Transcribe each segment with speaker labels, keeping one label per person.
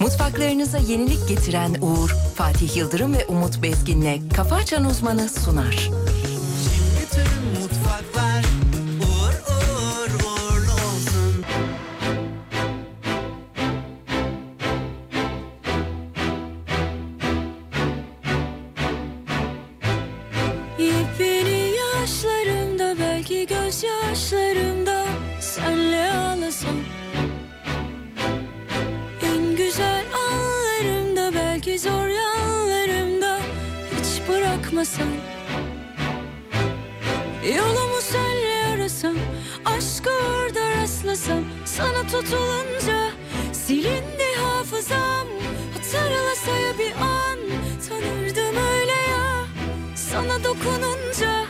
Speaker 1: Mutfaklarınıza yenilik getiren Uğur, Fatih Yıldırım ve Umut Bezgin'le Kafa Açan Uzmanı sunar.
Speaker 2: Bütün mutfaklar uğur uğur uğurlu olsun.
Speaker 3: Yepyeni yaşlarımda belki gözyaşlarımda senle ağlasam En güzel anlarımda belki zor yanlarımda hiç bırakmasam Yolumu senle arasam aşkı orada rastlasam sana tutulunca silindi hafızam Hatırlasaya bir an tanırdım öyle ya sana dokununca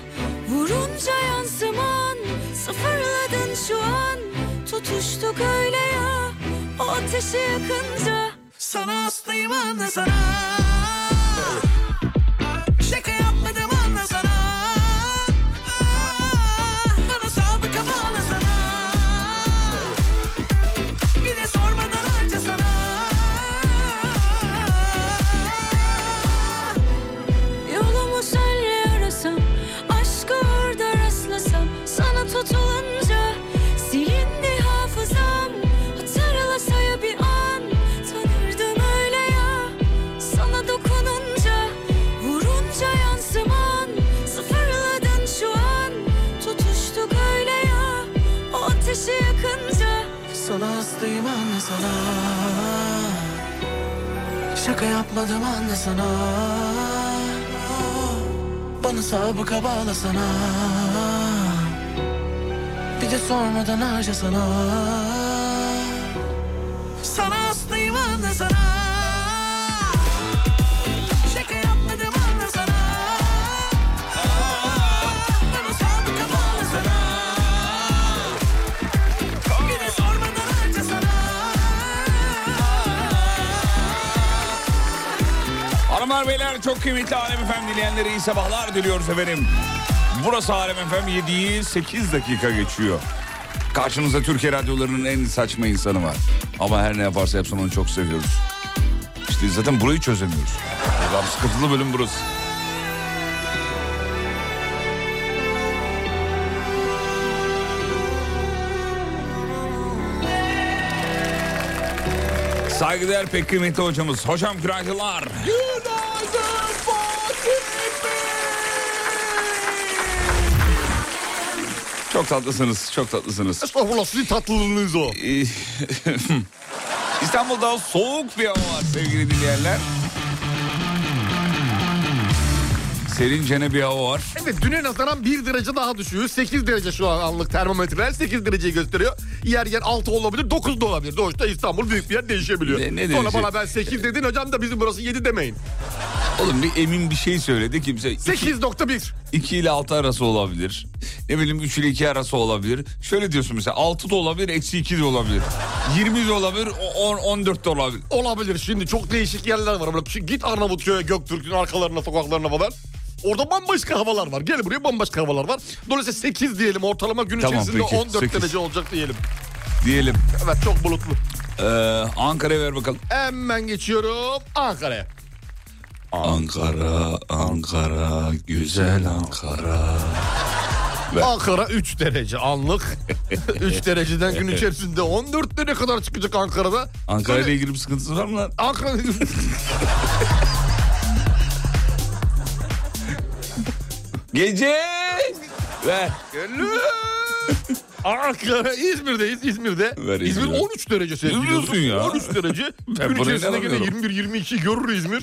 Speaker 3: Vurunca yansıman Sıfırladın şu an Tutuştuk öyle ya O ateşi yakınca
Speaker 2: Sana aslıyım anla sana. Şaka yapmadım anla sana. Bana sabıka bağla sana. Bir de sormadan harca sana.
Speaker 3: Yolumu senle arasam Aşkı orada rastlasam Sana tutulunca Silindi hafızam Hatırlasaya bir an Tanırdım öyle ya Sana dokununca Vurunca yansıman Sıfırladın şu an Tutuştuk öyle ya O ateşi yakınca
Speaker 2: Sana aslıyım anla sana. Şaka yapmadım anla sana. Bana sabıka bağla sana. Bir de sormadan harca sana. Sana aslıyım anla sana. Şaka yapmadım anla sana. Bana sabıka bağla sana. Bir de sormadan harca
Speaker 4: Hanımlar beyler çok kıymetli Alem Efem dinleyenleri iyi sabahlar diliyoruz efendim. Burası Alem Efem 7'yi 8 dakika geçiyor. Karşınızda Türkiye radyolarının en saçma insanı var. Ama her ne yaparsa yapsın onu çok seviyoruz. İşte zaten burayı çözemiyoruz. Adam sıkıntılı bölüm burası. Saygıdeğer pek kıymetli hocamız. Hocam günaydınlar. Çok tatlısınız, çok tatlısınız.
Speaker 5: Estağfurullah sizin tatlılığınız o.
Speaker 4: Ee, İstanbul'da soğuk bir hava var sevgili dinleyenler. Serincene bir hava var.
Speaker 5: Evet düne nazaran 1 derece daha düşüyor. 8 derece şu an anlık termometreler 8 dereceyi gösteriyor. Yer yer 6 olabilir 9 da olabilir. Doğuşta İstanbul büyük bir yer değişebiliyor.
Speaker 4: Ne- ne
Speaker 5: Sonra
Speaker 4: derece?
Speaker 5: bana ben 8 dedin hocam da bizim burası 7 demeyin.
Speaker 4: Oğlum bir emin bir şey söyledi kimse.
Speaker 5: 8.1.
Speaker 4: 2 ile 6 arası olabilir. Ne bileyim 3 ile 2 arası olabilir. Şöyle diyorsun mesela 6 da olabilir, eksi 2 de olabilir. 20 de olabilir, 10, 14 de olabilir.
Speaker 5: Olabilir şimdi çok değişik yerler var. Böyle Şimdi git Arnavutköy'e Göktürk'ün arkalarına sokaklarına falan. Orada bambaşka havalar var. Gel buraya bambaşka havalar var. Dolayısıyla 8 diyelim ortalama gün
Speaker 4: Tamam,
Speaker 5: içerisinde
Speaker 4: peki,
Speaker 5: 14
Speaker 4: 8.
Speaker 5: derece olacak diyelim.
Speaker 4: Diyelim.
Speaker 5: Evet çok bulutlu.
Speaker 4: Ee, Ankara'ya ver bakalım.
Speaker 5: Hemen geçiyorum Ankara'ya.
Speaker 4: Ankara, Ankara, güzel Ankara.
Speaker 5: Ankara 3 derece anlık. 3 dereceden gün içerisinde 14 derece kadar çıkacak Ankara'da. Hani-
Speaker 4: Ankara ile
Speaker 5: Böyle-
Speaker 4: ilgili bir sıkıntısı var mı lan?
Speaker 5: Ankara
Speaker 4: Gece! Ver.
Speaker 5: Ankara İzmir'deyiz İzmir'de.
Speaker 4: Ver İzmir'i.
Speaker 5: İzmir 13 derece sevgili.
Speaker 4: Ne diyorsun ya?
Speaker 5: 13 derece. gün
Speaker 4: buraya
Speaker 5: içerisinde gene
Speaker 4: inanamıyorum.
Speaker 5: 21 22 görür İzmir.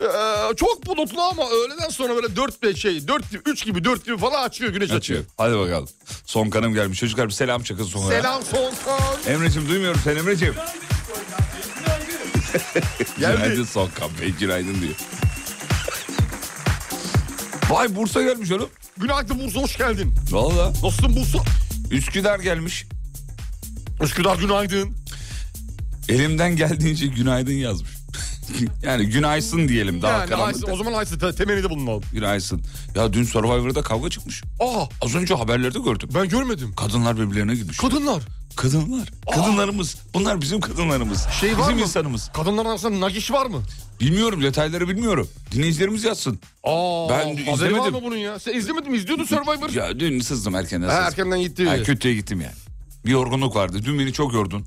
Speaker 5: Ee, çok bulutlu ama öğleden sonra böyle 4 5 şey 4 gibi 3 gibi 4 gibi falan açıyor güneş açıyor.
Speaker 4: Açıyor. Hadi bakalım. Son kanım gelmiş. Çocuklar bir selam çakın sonra.
Speaker 5: Selam Solkan.
Speaker 4: Emre'cim duymuyorum sen Emre'cim. Günaydın
Speaker 5: Geldi.
Speaker 4: son kan Bey günaydın diyor. Vay Bursa gelmiş oğlum.
Speaker 5: Günaydın Bursa hoş geldin.
Speaker 4: Valla.
Speaker 5: Dostum Bursa.
Speaker 4: Üsküdar gelmiş.
Speaker 5: Üsküdar günaydın.
Speaker 4: Elimden geldiğince günaydın yazmış. yani günaysın diyelim daha
Speaker 5: yani Aysin-
Speaker 4: karanlıkta.
Speaker 5: o zaman Aysin te- temelinde bulunalım.
Speaker 4: Günaysın. Ya dün Survivor'da kavga çıkmış.
Speaker 5: Aa
Speaker 4: Az önce haberlerde gördüm.
Speaker 5: ben görmedim.
Speaker 4: Kadınlar birbirlerine girmiş.
Speaker 5: Kadınlar.
Speaker 4: Kadınlar. Kadınlarımız. Bunlar bizim kadınlarımız.
Speaker 5: Şey var
Speaker 4: bizim
Speaker 5: mı?
Speaker 4: insanımız.
Speaker 5: Kadınların arasında nagiş var mı?
Speaker 4: Bilmiyorum detayları bilmiyorum. Dinleyicilerimiz yazsın.
Speaker 5: Aa
Speaker 4: Ben
Speaker 5: haberi
Speaker 4: izlemedim.
Speaker 5: var mı bunun ya? Sen izlemedin mi? İzliyordun Survivor.
Speaker 4: Ya dün sızdım erkenden.
Speaker 5: ha,
Speaker 4: sızdım.
Speaker 5: erkenden gitti.
Speaker 4: Ha, kötüye gittim yani. Bir yorgunluk vardı. Dün beni çok yordun.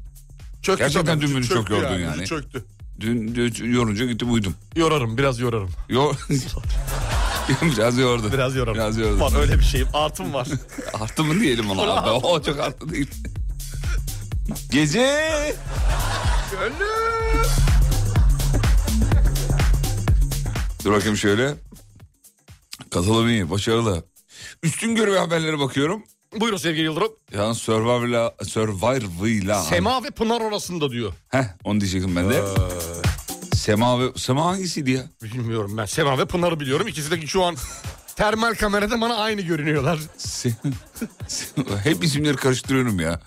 Speaker 5: Çöktü
Speaker 4: Gerçekten
Speaker 5: tabii.
Speaker 4: dün beni çok
Speaker 5: Çöktü
Speaker 4: yordun
Speaker 5: vücut
Speaker 4: yani.
Speaker 5: Çöktü.
Speaker 4: Dün, dün yorunca gittim uyudum.
Speaker 5: Yorarım biraz yorarım.
Speaker 4: Yo... Biraz yordu.
Speaker 5: Biraz yorarım.
Speaker 4: Biraz yordu.
Speaker 5: Var öyle bir şeyim artım var.
Speaker 4: Arttı mı diyelim ona abi. O çok arttı değil. Gece. Dur bakayım şöyle. Katılım iyi, başarılı. Üstün görü ve haberlere bakıyorum.
Speaker 5: Buyurun sevgili Yıldırım.
Speaker 4: Yalnız Survivor'la... Survivor'la...
Speaker 5: Sema ve Pınar orasında diyor.
Speaker 4: Heh, onu diyecektim ben de. Sema ve... Sema hangisiydi ya?
Speaker 5: Bilmiyorum ben. Sema ve Pınar'ı biliyorum. İkisi de şu an termal kamerada bana aynı görünüyorlar.
Speaker 4: Se- Se- Hep isimleri karıştırıyorum ya.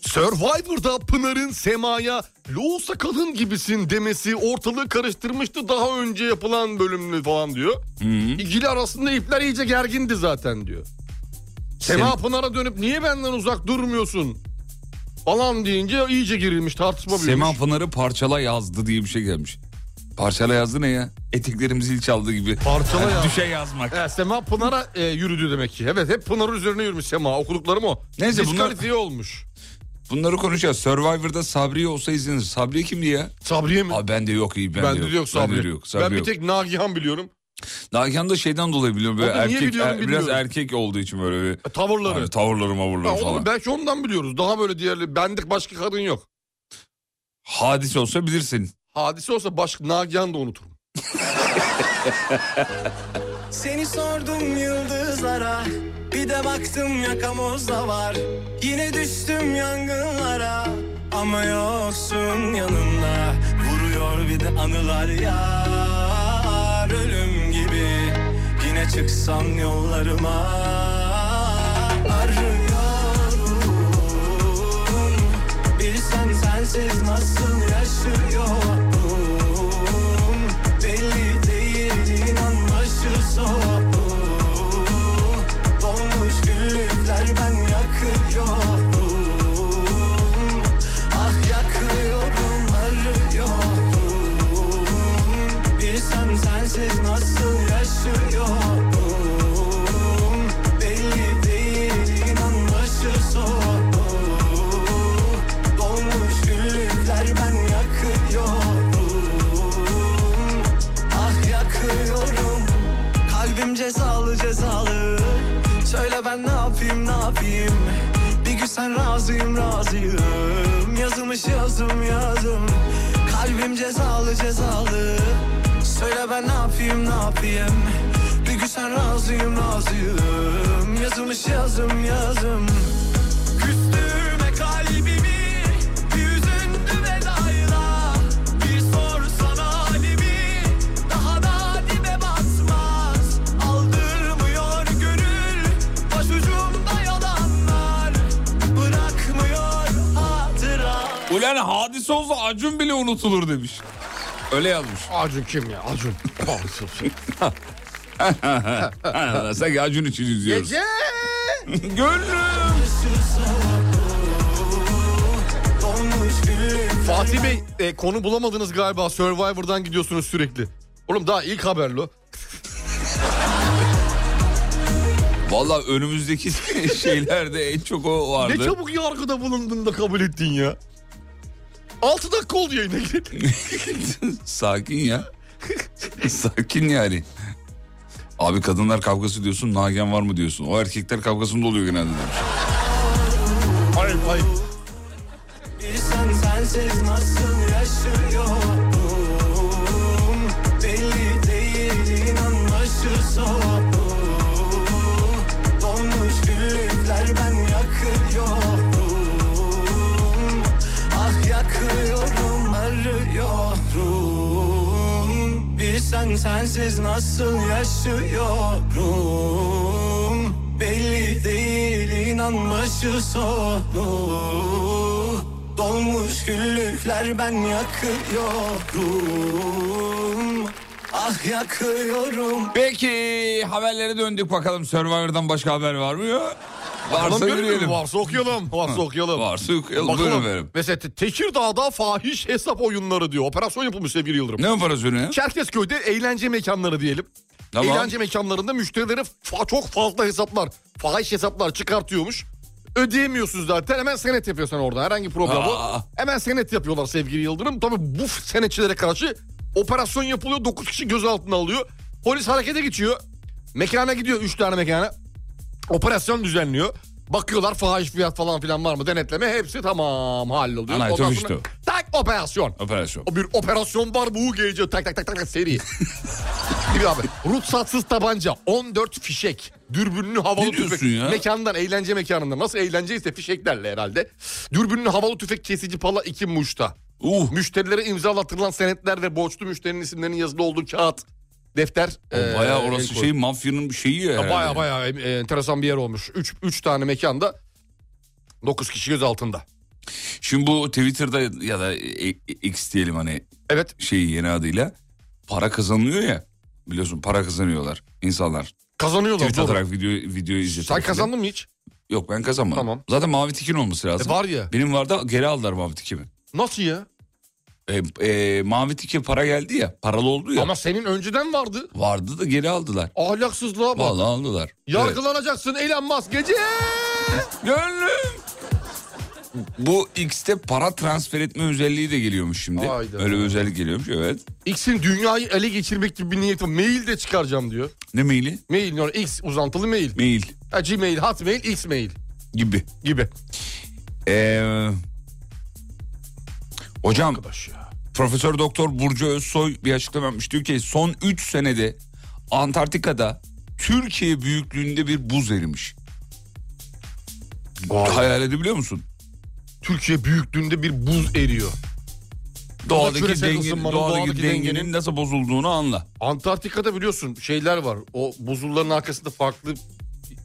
Speaker 5: Survivor'da Pınar'ın Sema'ya Loğusa kadın gibisin demesi ortalığı karıştırmıştı daha önce yapılan bölümlü falan diyor. İkili arasında ipler iyice gergindi zaten diyor. Sema
Speaker 4: Sem-
Speaker 5: Pınar'a dönüp niye benden uzak durmuyorsun falan deyince iyice girilmiş tartışma büyümüş.
Speaker 4: Sema Pınar'ı parçala yazdı diye bir şey gelmiş. Parçala yazdı ne ya? Eteklerimizi il çaldı gibi.
Speaker 5: Parçala
Speaker 4: Yani
Speaker 5: yazdı.
Speaker 4: Düşe yazmak.
Speaker 5: He, Sema Pınar'a e, yürüdü demek ki. Evet hep Pınar'ın üzerine yürümüş Sema. Okuduklarım o.
Speaker 4: Neyse, bunlar-
Speaker 5: Diskalifiye olmuş.
Speaker 4: Bunları konuşacağız. Survivor'da Sabriye olsa izlenir. Sabriye kimdi ya?
Speaker 5: Sabriye mi?
Speaker 4: Aa, bende yok iyi. Bende,
Speaker 5: ben de yok Sabri.
Speaker 4: Bende de yok. Sabri
Speaker 5: ben bir
Speaker 4: yok.
Speaker 5: tek Nagihan biliyorum.
Speaker 4: Nagihan da şeyden dolayı biliyorum. Böyle
Speaker 5: Onu niye
Speaker 4: erkek,
Speaker 5: biliyorum
Speaker 4: er- biraz
Speaker 5: bilmiyorum.
Speaker 4: erkek olduğu için böyle. Bir,
Speaker 5: E, tavırları.
Speaker 4: hani tavırları mavurları
Speaker 5: Ya oğlum
Speaker 4: falan.
Speaker 5: belki ondan biliyoruz. Daha böyle diğerli bendik başka kadın yok.
Speaker 4: Hadise olsa bilirsin.
Speaker 5: Hadise olsa başka Nagihan da unuturum.
Speaker 2: Seni sordum yıldızlara Bir de baktım yakamozda var Yine düştüm yangınlara Ama yoksun yanımda Vuruyor bir de anılar ya Ölüm gibi Yine çıksam yollarıma Arıyorum Bilsen sensiz nasıl yaşıyorum Belli değil inan başı soğuk Dolmuş güllükler ben yakıyorum Ah yakıyorum arıyorum Bilsem sensiz nasıl yaşıyorum Belli değil inan başı soğuk Dolmuş güllükler ben yakıyorum Ah yakıyorum Kalbim cezalı cezalı Söyle ben ne yapayım ne yapayım Bir gün sen razıyım razıyım Yazılmış yazım yazım Kalbim cezalı cezalı Söyle ben ne yapayım ne yapayım Bir gün sen razıyım razıyım Yazılmış yazım yazım Küstüme kalbimi bir üzündü vedayla Bir sorsana halimi daha da dibe basmaz Aldırmıyor gönül başucumda yalanlar Bırakmıyor hatıra
Speaker 4: Ulan hadise olsa Acun bile unutulur demiş. Öyle yazmış.
Speaker 5: Acun kim ya? Acun. Bağırsın.
Speaker 4: Ha, Sanki Acun için izliyoruz.
Speaker 5: Gece.
Speaker 4: Gönlüm.
Speaker 2: Dolmuş gül
Speaker 5: Fatih Bey e, konu bulamadınız galiba. Survivor'dan gidiyorsunuz sürekli. Oğlum daha ilk haber lo.
Speaker 4: Valla önümüzdeki şeylerde en çok o vardı.
Speaker 5: Ne çabuk yargıda bulundun da kabul ettin ya. 6 dakika oldu yayına gireli.
Speaker 4: Sakin ya. Sakin yani. Abi kadınlar kavgası diyorsun, nagen var mı diyorsun. O erkekler kavgasında oluyor genelde demiş.
Speaker 5: Hayır hayır.
Speaker 2: Sen sensiz nasıl yaşıyorum Belli değil inan başı soğuk Dolmuş güllükler ben yakıyorum Ah yakıyorum arıyorum Bir sen sensiz nasıl yaşıyorum Belli değil inan başı soğuk Dolmuş güllükler ben yakıyorum Ah yakıyorum
Speaker 4: Peki haberlere döndük bakalım Survivor'dan başka haber var mı? Yok.
Speaker 5: Bakalım
Speaker 4: Varsa
Speaker 5: görüyor musun?
Speaker 4: yürüyelim.
Speaker 5: Varsa okuyalım. Varsa okuyalım.
Speaker 4: Varsa okuyalım. Buyurun efendim.
Speaker 5: Mesela Te- Tekirdağ'da fahiş hesap oyunları diyor. Operasyon yapılmış sevgili Yıldırım.
Speaker 4: Ne operasyonu ya?
Speaker 5: Çerkezköy'de eğlence mekanları diyelim.
Speaker 4: Tamam.
Speaker 5: Eğlence mekanlarında müşterilere fa- çok fazla hesaplar, fahiş hesaplar çıkartıyormuş. Ödeyemiyorsun zaten hemen senet yapıyor sen orada herhangi bir problem yok.
Speaker 4: Aa.
Speaker 5: Hemen senet yapıyorlar sevgili Yıldırım. Tabii bu senetçilere karşı operasyon yapılıyor 9 kişi gözaltına alıyor. Polis harekete geçiyor. Mekana gidiyor 3 tane mekana. Operasyon düzenliyor. Bakıyorlar fahiş fiyat falan filan var mı denetleme hepsi tamam halloluyor.
Speaker 4: Anay,
Speaker 5: Ondan
Speaker 4: tabii
Speaker 5: sonra
Speaker 4: işte
Speaker 5: tak operasyon.
Speaker 4: Operasyon.
Speaker 5: O bir operasyon var bu gece tak tak tak tak tak seri. Değil mi abi? Ruhsatsız tabanca, 14 fişek, dürbünlü havalı
Speaker 4: Ne diyorsun
Speaker 5: tüfek.
Speaker 4: ya?
Speaker 5: Mekandan, eğlence mekanında nasıl eğlenceyse fişeklerle herhalde. Dürbünlü havalı tüfek kesici pala 2 muşta.
Speaker 4: Uh.
Speaker 5: Müşterilere imzalattırılan senetler ve borçlu müşterinin isimlerinin yazılı olduğu kağıt, defter. ee,
Speaker 4: Baya
Speaker 5: el
Speaker 4: orası
Speaker 5: koy-
Speaker 4: şey mafyanın bir şeyi
Speaker 5: Ee,
Speaker 4: ya. herhalde.
Speaker 5: Baya baya e, enteresan bir yer olmuş. 3 3 tane mekanda 9 kişi gözaltında.
Speaker 4: Şimdi bu Twitter'da ya da e- e- X diyelim hani
Speaker 5: Evet.
Speaker 4: şeyi yeni adıyla para kazanılıyor ya. Biliyorsun para kazanıyorlar insanlar.
Speaker 5: Kazanıyorlar.
Speaker 4: Tweet
Speaker 5: doğru.
Speaker 4: atarak video video izletiyor.
Speaker 5: Sen kazandın mı hiç?
Speaker 4: Yok ben kazanmadım.
Speaker 5: Tamam.
Speaker 4: Zaten mavi tikin olması lazım.
Speaker 5: E, var ya.
Speaker 4: Benim vardı geri aldılar mavi tikimi.
Speaker 5: Nasıl ya?
Speaker 4: E, e, mavi tike para geldi ya paralı oldu ya.
Speaker 5: Ama senin önceden vardı.
Speaker 4: Vardı da geri aldılar.
Speaker 5: Ahlaksızlığa bak.
Speaker 4: Vallahi aldılar. Evet.
Speaker 5: Yargılanacaksın Elon Musk gece.
Speaker 4: Gönlüm. Bu X'te para transfer etme özelliği de geliyormuş şimdi.
Speaker 5: Hayda.
Speaker 4: Öyle bir özellik geliyormuş evet.
Speaker 5: X'in dünyayı ele geçirmek gibi bir niyeti var. Mail de çıkaracağım diyor.
Speaker 4: Ne maili?
Speaker 5: Mail yani X uzantılı mail.
Speaker 4: Mail
Speaker 5: Ha, Gmail, Hotmail, X mail
Speaker 4: gibi.
Speaker 5: gibi.
Speaker 4: Ee, hocam
Speaker 5: Arkadaş ya.
Speaker 4: Profesör Doktor Burcu Özsoy bir açıklama yapmış. Diyor ki son 3 senede Antarktika'da Türkiye büyüklüğünde bir buz erimiş.
Speaker 5: Vay.
Speaker 4: Hayal edebiliyor musun?
Speaker 5: Türkiye büyüklüğünde bir buz eriyor.
Speaker 4: Doğadaki,
Speaker 5: küresel
Speaker 4: denge,
Speaker 5: ısınmanın,
Speaker 4: doğadaki,
Speaker 5: doğadaki
Speaker 4: dengenin,
Speaker 5: dengenin
Speaker 4: nasıl bozulduğunu anla.
Speaker 5: Antarktika'da biliyorsun şeyler var. O buzulların arkasında farklı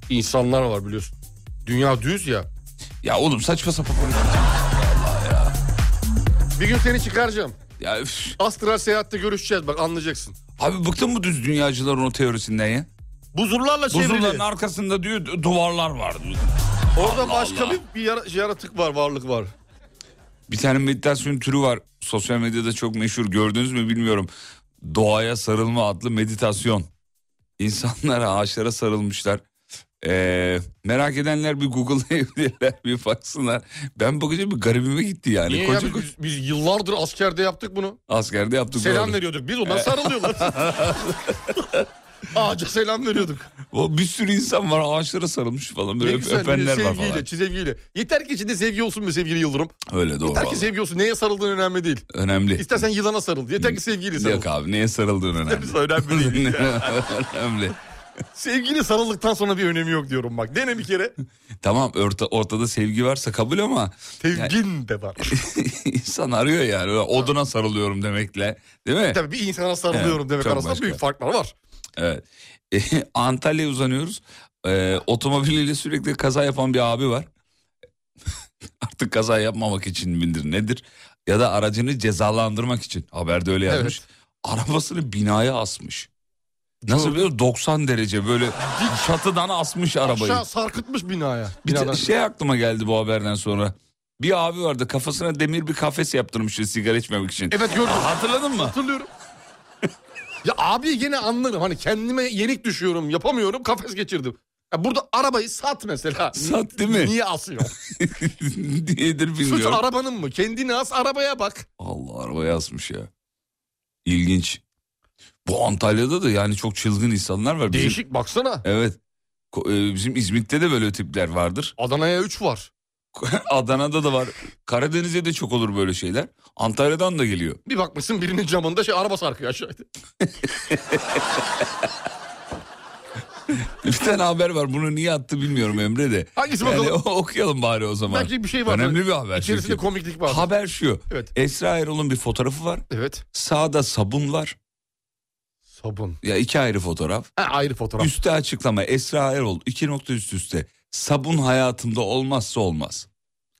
Speaker 5: insanlar var biliyorsun. Dünya düz ya.
Speaker 4: Ya oğlum saçma sapan konuş.
Speaker 5: Bir gün seni çıkaracağım.
Speaker 4: Ya üf.
Speaker 5: Astral seyahatte görüşeceğiz bak anlayacaksın.
Speaker 4: Abi bıktın mı düz dünyacıların o teorisinden ya?
Speaker 5: Buzullarla çevrili.
Speaker 4: Buzulların arkasında diyor du- duvarlar var diyor.
Speaker 5: Orada
Speaker 4: Allah
Speaker 5: başka
Speaker 4: Allah.
Speaker 5: bir, bir yara- şey, yaratık var, varlık var.
Speaker 4: Bir tane meditasyon türü var. Sosyal medyada çok meşhur. Gördünüz mü bilmiyorum. Doğaya sarılma adlı meditasyon. İnsanlar ağaçlara sarılmışlar. Ee, merak edenler bir Google'layabilirler bir baksınlar. Ben bakınca bir garibime gitti yani.
Speaker 5: Niye ya?
Speaker 4: Koca
Speaker 5: Biz-
Speaker 4: koca
Speaker 5: Biz, biz yıllardır askerde yaptık bunu.
Speaker 4: askerde yaptık.
Speaker 5: Selam
Speaker 4: doğru.
Speaker 5: veriyorduk. Biz ona sarılıyorlar. Ağaca selam veriyorduk.
Speaker 4: O bir sürü insan var ağaçlara sarılmış falan
Speaker 5: Ne
Speaker 4: böyle öp-
Speaker 5: güzel bir de
Speaker 4: öpenler var
Speaker 5: sevgiyle,
Speaker 4: falan.
Speaker 5: çizevgiyle. Yeter ki içinde sevgi olsun be sevgili Yıldırım.
Speaker 4: Öyle doğru.
Speaker 5: Yeter ki
Speaker 4: vallahi.
Speaker 5: sevgi olsun. Neye sarıldığın önemli değil.
Speaker 4: Önemli.
Speaker 5: İstersen yılana sarıl. Yeter ki sevgiyle sarıl.
Speaker 4: Yok abi neye sarıldığın önemli.
Speaker 5: önemli değil.
Speaker 4: önemli.
Speaker 5: Sevgiyle sarıldıktan sonra bir önemi yok diyorum bak. Dene bir kere.
Speaker 4: Tamam orta, ortada sevgi varsa kabul ama
Speaker 5: Sevgin de var.
Speaker 4: İnsan arıyor yani. Öyle Oduna sarılıyorum demekle. Değil mi?
Speaker 5: E Tabii bir insana sarılıyorum
Speaker 4: Evet,
Speaker 5: demek
Speaker 4: çok
Speaker 5: arasında
Speaker 4: başka.
Speaker 5: büyük farklar var.
Speaker 4: Evet. E, Antalya'ya uzanıyoruz. E, otomobiliyle sürekli kaza yapan bir abi var. Artık kaza yapmamak için midir nedir? Ya da aracını cezalandırmak için. Haberde öyle yazmış. Arabasını binaya asmış. Nasıl biliyor musun? 90 derece böyle çatıdan asmış arabayı.
Speaker 5: Aşağı sarkıtmış binaya.
Speaker 4: Bir
Speaker 5: Binadan.
Speaker 4: de şey aklıma geldi bu haberden sonra. Bir abi vardı kafasına demir bir kafes yaptırmıştı sigara içmemek için.
Speaker 5: Evet gördüm.
Speaker 4: Hatırladın mı?
Speaker 5: Hatırlıyorum. ya abi gene anlarım hani kendime yenik düşüyorum yapamıyorum kafes geçirdim. Ya burada arabayı sat mesela.
Speaker 4: Sat değil mi?
Speaker 5: Niye asıyor?
Speaker 4: diyedir
Speaker 5: Suç
Speaker 4: bilmiyorum.
Speaker 5: arabanın mı? Kendini as arabaya bak.
Speaker 4: Allah araba yazmış ya. İlginç. Bu Antalya'da da yani çok çılgın insanlar var. Bizim-
Speaker 5: Değişik baksana.
Speaker 4: Evet. Ko- e, Bizim İzmit'te de böyle tipler vardır.
Speaker 5: Adana'ya 3 var.
Speaker 4: Adana'da da var. Karadeniz'de de çok olur böyle şeyler. Antalya'dan da geliyor.
Speaker 5: Bir bakmışsın birinin camında şey araba sarkıyor aşağıda.
Speaker 4: Bir tane haber var. Bunu niye attı bilmiyorum Emre de.
Speaker 5: Hangisi
Speaker 4: Yani
Speaker 5: bakalım?
Speaker 4: o- okuyalım bari o zaman.
Speaker 5: Belki bir şey var.
Speaker 4: Önemli bir haber.
Speaker 5: İçerisinde
Speaker 4: çünkü.
Speaker 5: komiklik var.
Speaker 4: Haber şu.
Speaker 5: Evet.
Speaker 4: Esra Erol'un bir fotoğrafı var.
Speaker 5: Evet.
Speaker 4: Sağda sabun var.
Speaker 5: Sabun.
Speaker 4: Ya iki ayrı fotoğraf.
Speaker 5: Ha, ayrı fotoğraf.
Speaker 4: Üste açıklama Esra Erol iki nokta üst üste sabun hayatımda olmazsa olmaz.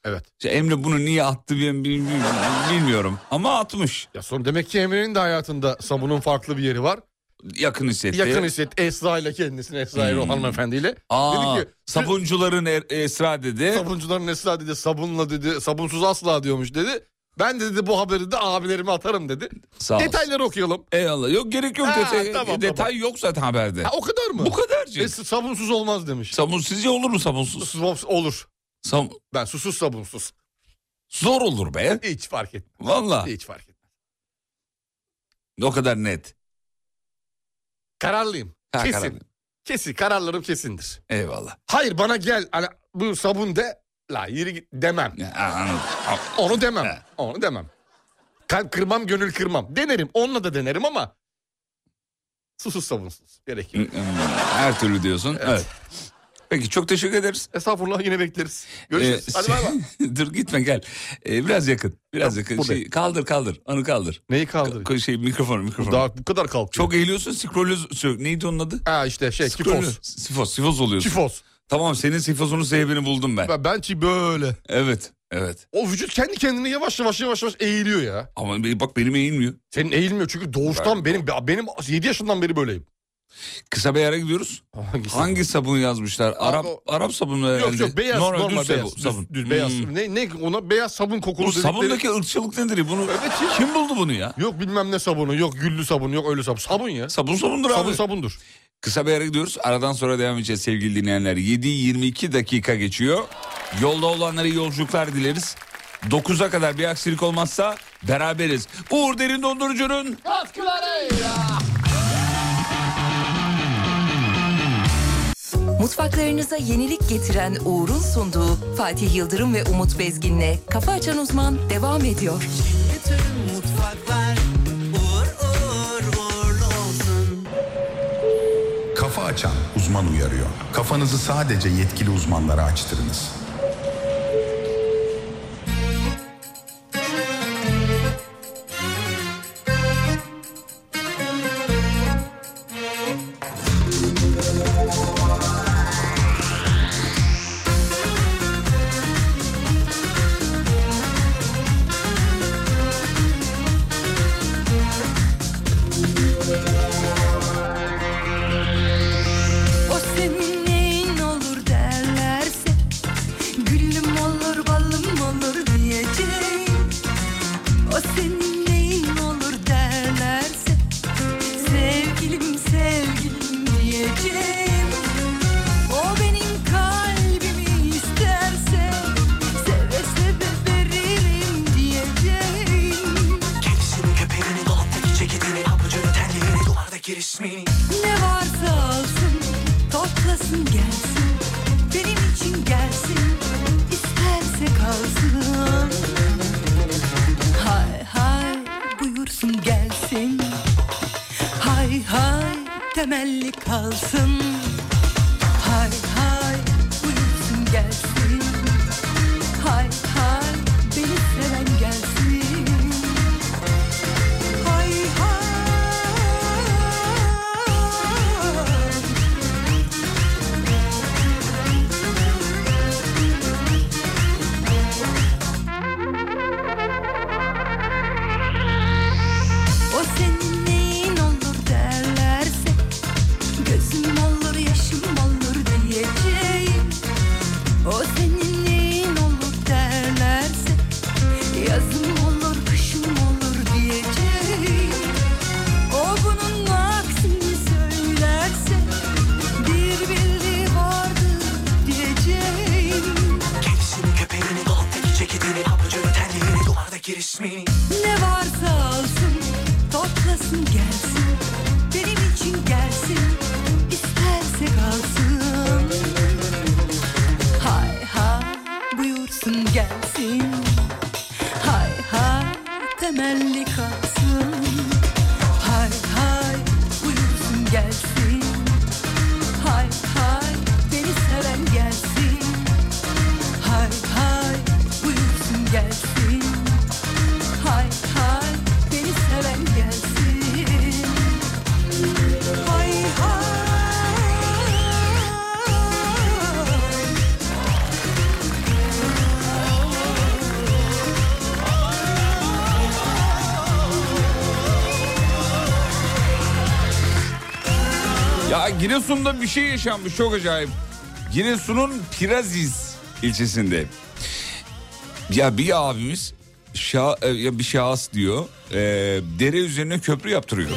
Speaker 5: Evet.
Speaker 4: İşte Emre bunu niye attı ben bil- bil- bilmiyorum ama atmış.
Speaker 5: Ya sonra demek ki Emre'nin de hayatında sabunun farklı bir yeri var.
Speaker 4: Yakın hissetti.
Speaker 5: Yakın hissetti Esra ile kendisini Esra Erol hanımefendiyle.
Speaker 4: Hmm. Aa,
Speaker 5: Dedi ki
Speaker 4: sabuncuların er- Esra dedi.
Speaker 5: sabuncuların Esra dedi sabunla dedi sabunsuz asla diyormuş dedi. Ben de dedi bu haberi de abilerime atarım dedi.
Speaker 4: Sağ olsun.
Speaker 5: Detayları okuyalım.
Speaker 4: Eyvallah. Yok gerek yok.
Speaker 5: Ha,
Speaker 4: detay,
Speaker 5: tamam,
Speaker 4: detay yok zaten haberde.
Speaker 5: Ha, o kadar mı?
Speaker 4: Bu kadarcık.
Speaker 5: E, sabunsuz olmaz demiş.
Speaker 4: Sabun sizce olur mu sabunsuz?
Speaker 5: Sus- olur.
Speaker 4: Sam
Speaker 5: Ben susuz sabunsuz.
Speaker 4: Zor olur be.
Speaker 5: Hiç fark etmez.
Speaker 4: Valla.
Speaker 5: Hiç fark etmez.
Speaker 4: O kadar net.
Speaker 5: Kararlıyım.
Speaker 4: Ha,
Speaker 5: Kesin.
Speaker 4: kararlı.
Speaker 5: Kesin. Kararlarım kesindir.
Speaker 4: Eyvallah.
Speaker 5: Hayır bana gel hani bu sabun de la yürü git demem.
Speaker 4: Ya, anladım. A-
Speaker 5: Onu demem.
Speaker 4: He.
Speaker 5: Onu demem. Kalp kırmam gönül kırmam. Denerim. Onunla da denerim ama susuz sabunsuz. Gerek yok.
Speaker 4: Hmm, Her türlü diyorsun. Evet. Peki çok teşekkür ederiz.
Speaker 5: Estağfurullah yine bekleriz. Görüşürüz.
Speaker 4: Ee,
Speaker 5: Hadi bay bay.
Speaker 4: Dur gitme gel. Ee, biraz yakın. Biraz
Speaker 5: Ya,
Speaker 4: yakın.
Speaker 5: burada.
Speaker 4: Şey, kaldır kaldır. Onu kaldır.
Speaker 5: Neyi kaldır?
Speaker 4: Ko- Şey mikrofonu mikrofonu.
Speaker 5: Daha bu kadar kalkıyor.
Speaker 4: Çok eğiliyorsun scrollü sö- neydi onun adı?
Speaker 5: Ha işte şey
Speaker 4: Scrollü-
Speaker 5: kifoz.
Speaker 4: Sifoz. Sifoz oluyorsun.
Speaker 5: Kifoz.
Speaker 4: Tamam senin sifosunun sebebini buldum ben.
Speaker 5: Ben, ben çi- böyle.
Speaker 4: Evet. Evet.
Speaker 5: O vücut kendi kendine yavaş yavaş yavaş yavaş eğiliyor ya.
Speaker 4: Ama bir- bak benim eğilmiyor.
Speaker 5: Senin eğilmiyor çünkü doğuştan benim benim 7 yaşından beri böyleyim.
Speaker 4: Kısa bir yere gidiyoruz.
Speaker 5: Hangisi?
Speaker 4: Hangi sabun yazmışlar? Arap
Speaker 5: o-
Speaker 4: Arap sabunu
Speaker 5: Yok
Speaker 4: herhalde.
Speaker 5: yok beyaz normal,
Speaker 4: düz
Speaker 5: beyaz.
Speaker 4: sabun.
Speaker 5: Düz,
Speaker 4: sabun.
Speaker 5: düz beyaz.
Speaker 4: Hmm.
Speaker 5: Ne ne ona beyaz sabun kokulu
Speaker 4: Bu
Speaker 5: dedikleri.
Speaker 4: sabundaki ırkçılık nedir? ya? Bunu kim buldu bunu ya?
Speaker 5: Yok bilmem ne sabunu, yok güllü sabun, yok öyle sabun. Sabun ya.
Speaker 4: Sabun sabundur
Speaker 5: Sabun
Speaker 4: abi.
Speaker 5: sabundur.
Speaker 4: Kısa bir yere gidiyoruz. Aradan sonra devam edeceğiz sevgili dinleyenler. 7.22 dakika geçiyor. Yolda olanlara iyi yolculuklar dileriz. 9'a kadar bir aksilik olmazsa beraberiz. Uğur Derin Dondurucu'nun
Speaker 1: Mutfaklarınıza yenilik getiren Uğur'un sunduğu Fatih Yıldırım ve Umut Bezgin'le Kafa Açan Uzman devam ediyor.
Speaker 2: Bütün mutfaklar uğur uğur uğurlu olsun
Speaker 6: Kafa açan uzman uyarıyor. Kafanızı sadece yetkili uzmanlara açtırınız.
Speaker 7: O senin neyin olur derlerse Gülüm olur balım olur diyeceğim O senin neyin olur derlerse Sevgilim sevgilim diyeceğim O benim kalbimi isterse Seve seve veririm diyeceğim
Speaker 2: Kendisini köpeğini dolaptaki ceketini Pabucunu terliğini duvardaki resmini
Speaker 7: Ne varsa alsın, toplasın gelsin Benim için gelsin, isterse kalsın Hay hay buyursun gelsin Hay hay temelli kalsın Hay hay buyursun gelsin Hay hay beni seven gelsin Hay hay O senin neyin olur derlerse Gözüm olur yaşım olur diyeceğim O senin neyin olur derlerse Yazım olur kışım olur diyeceğim O bunun aksini söylerse Bir bildiği vardır diyeceğim
Speaker 2: Kendisini köpeğini dolaptaki ceketini Pabucunu terliğini duvardaki resmini
Speaker 7: Ne varsa alsın, toplasın gelsin Benim için gelsin, isterse kalsın Hay hay buyursun gelsin Hay hay temelli kalsın Hay hay buyursun gelsin Hay hay beni seven gelsin Hay hay buyursun gelsin Hay hay beni seven gelsin Hay hay
Speaker 4: Ya Giresun'da bir şey yaşanmış çok acayip. Giresun'un Piraziz ilçesinde. Ya bir abimiz şa- e, ya bir şahıs diyor e, dere üzerine köprü yaptırıyor.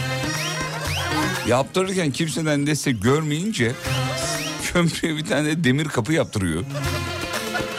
Speaker 4: Yaptırırken kimseden destek görmeyince köprüye bir tane demir kapı yaptırıyor.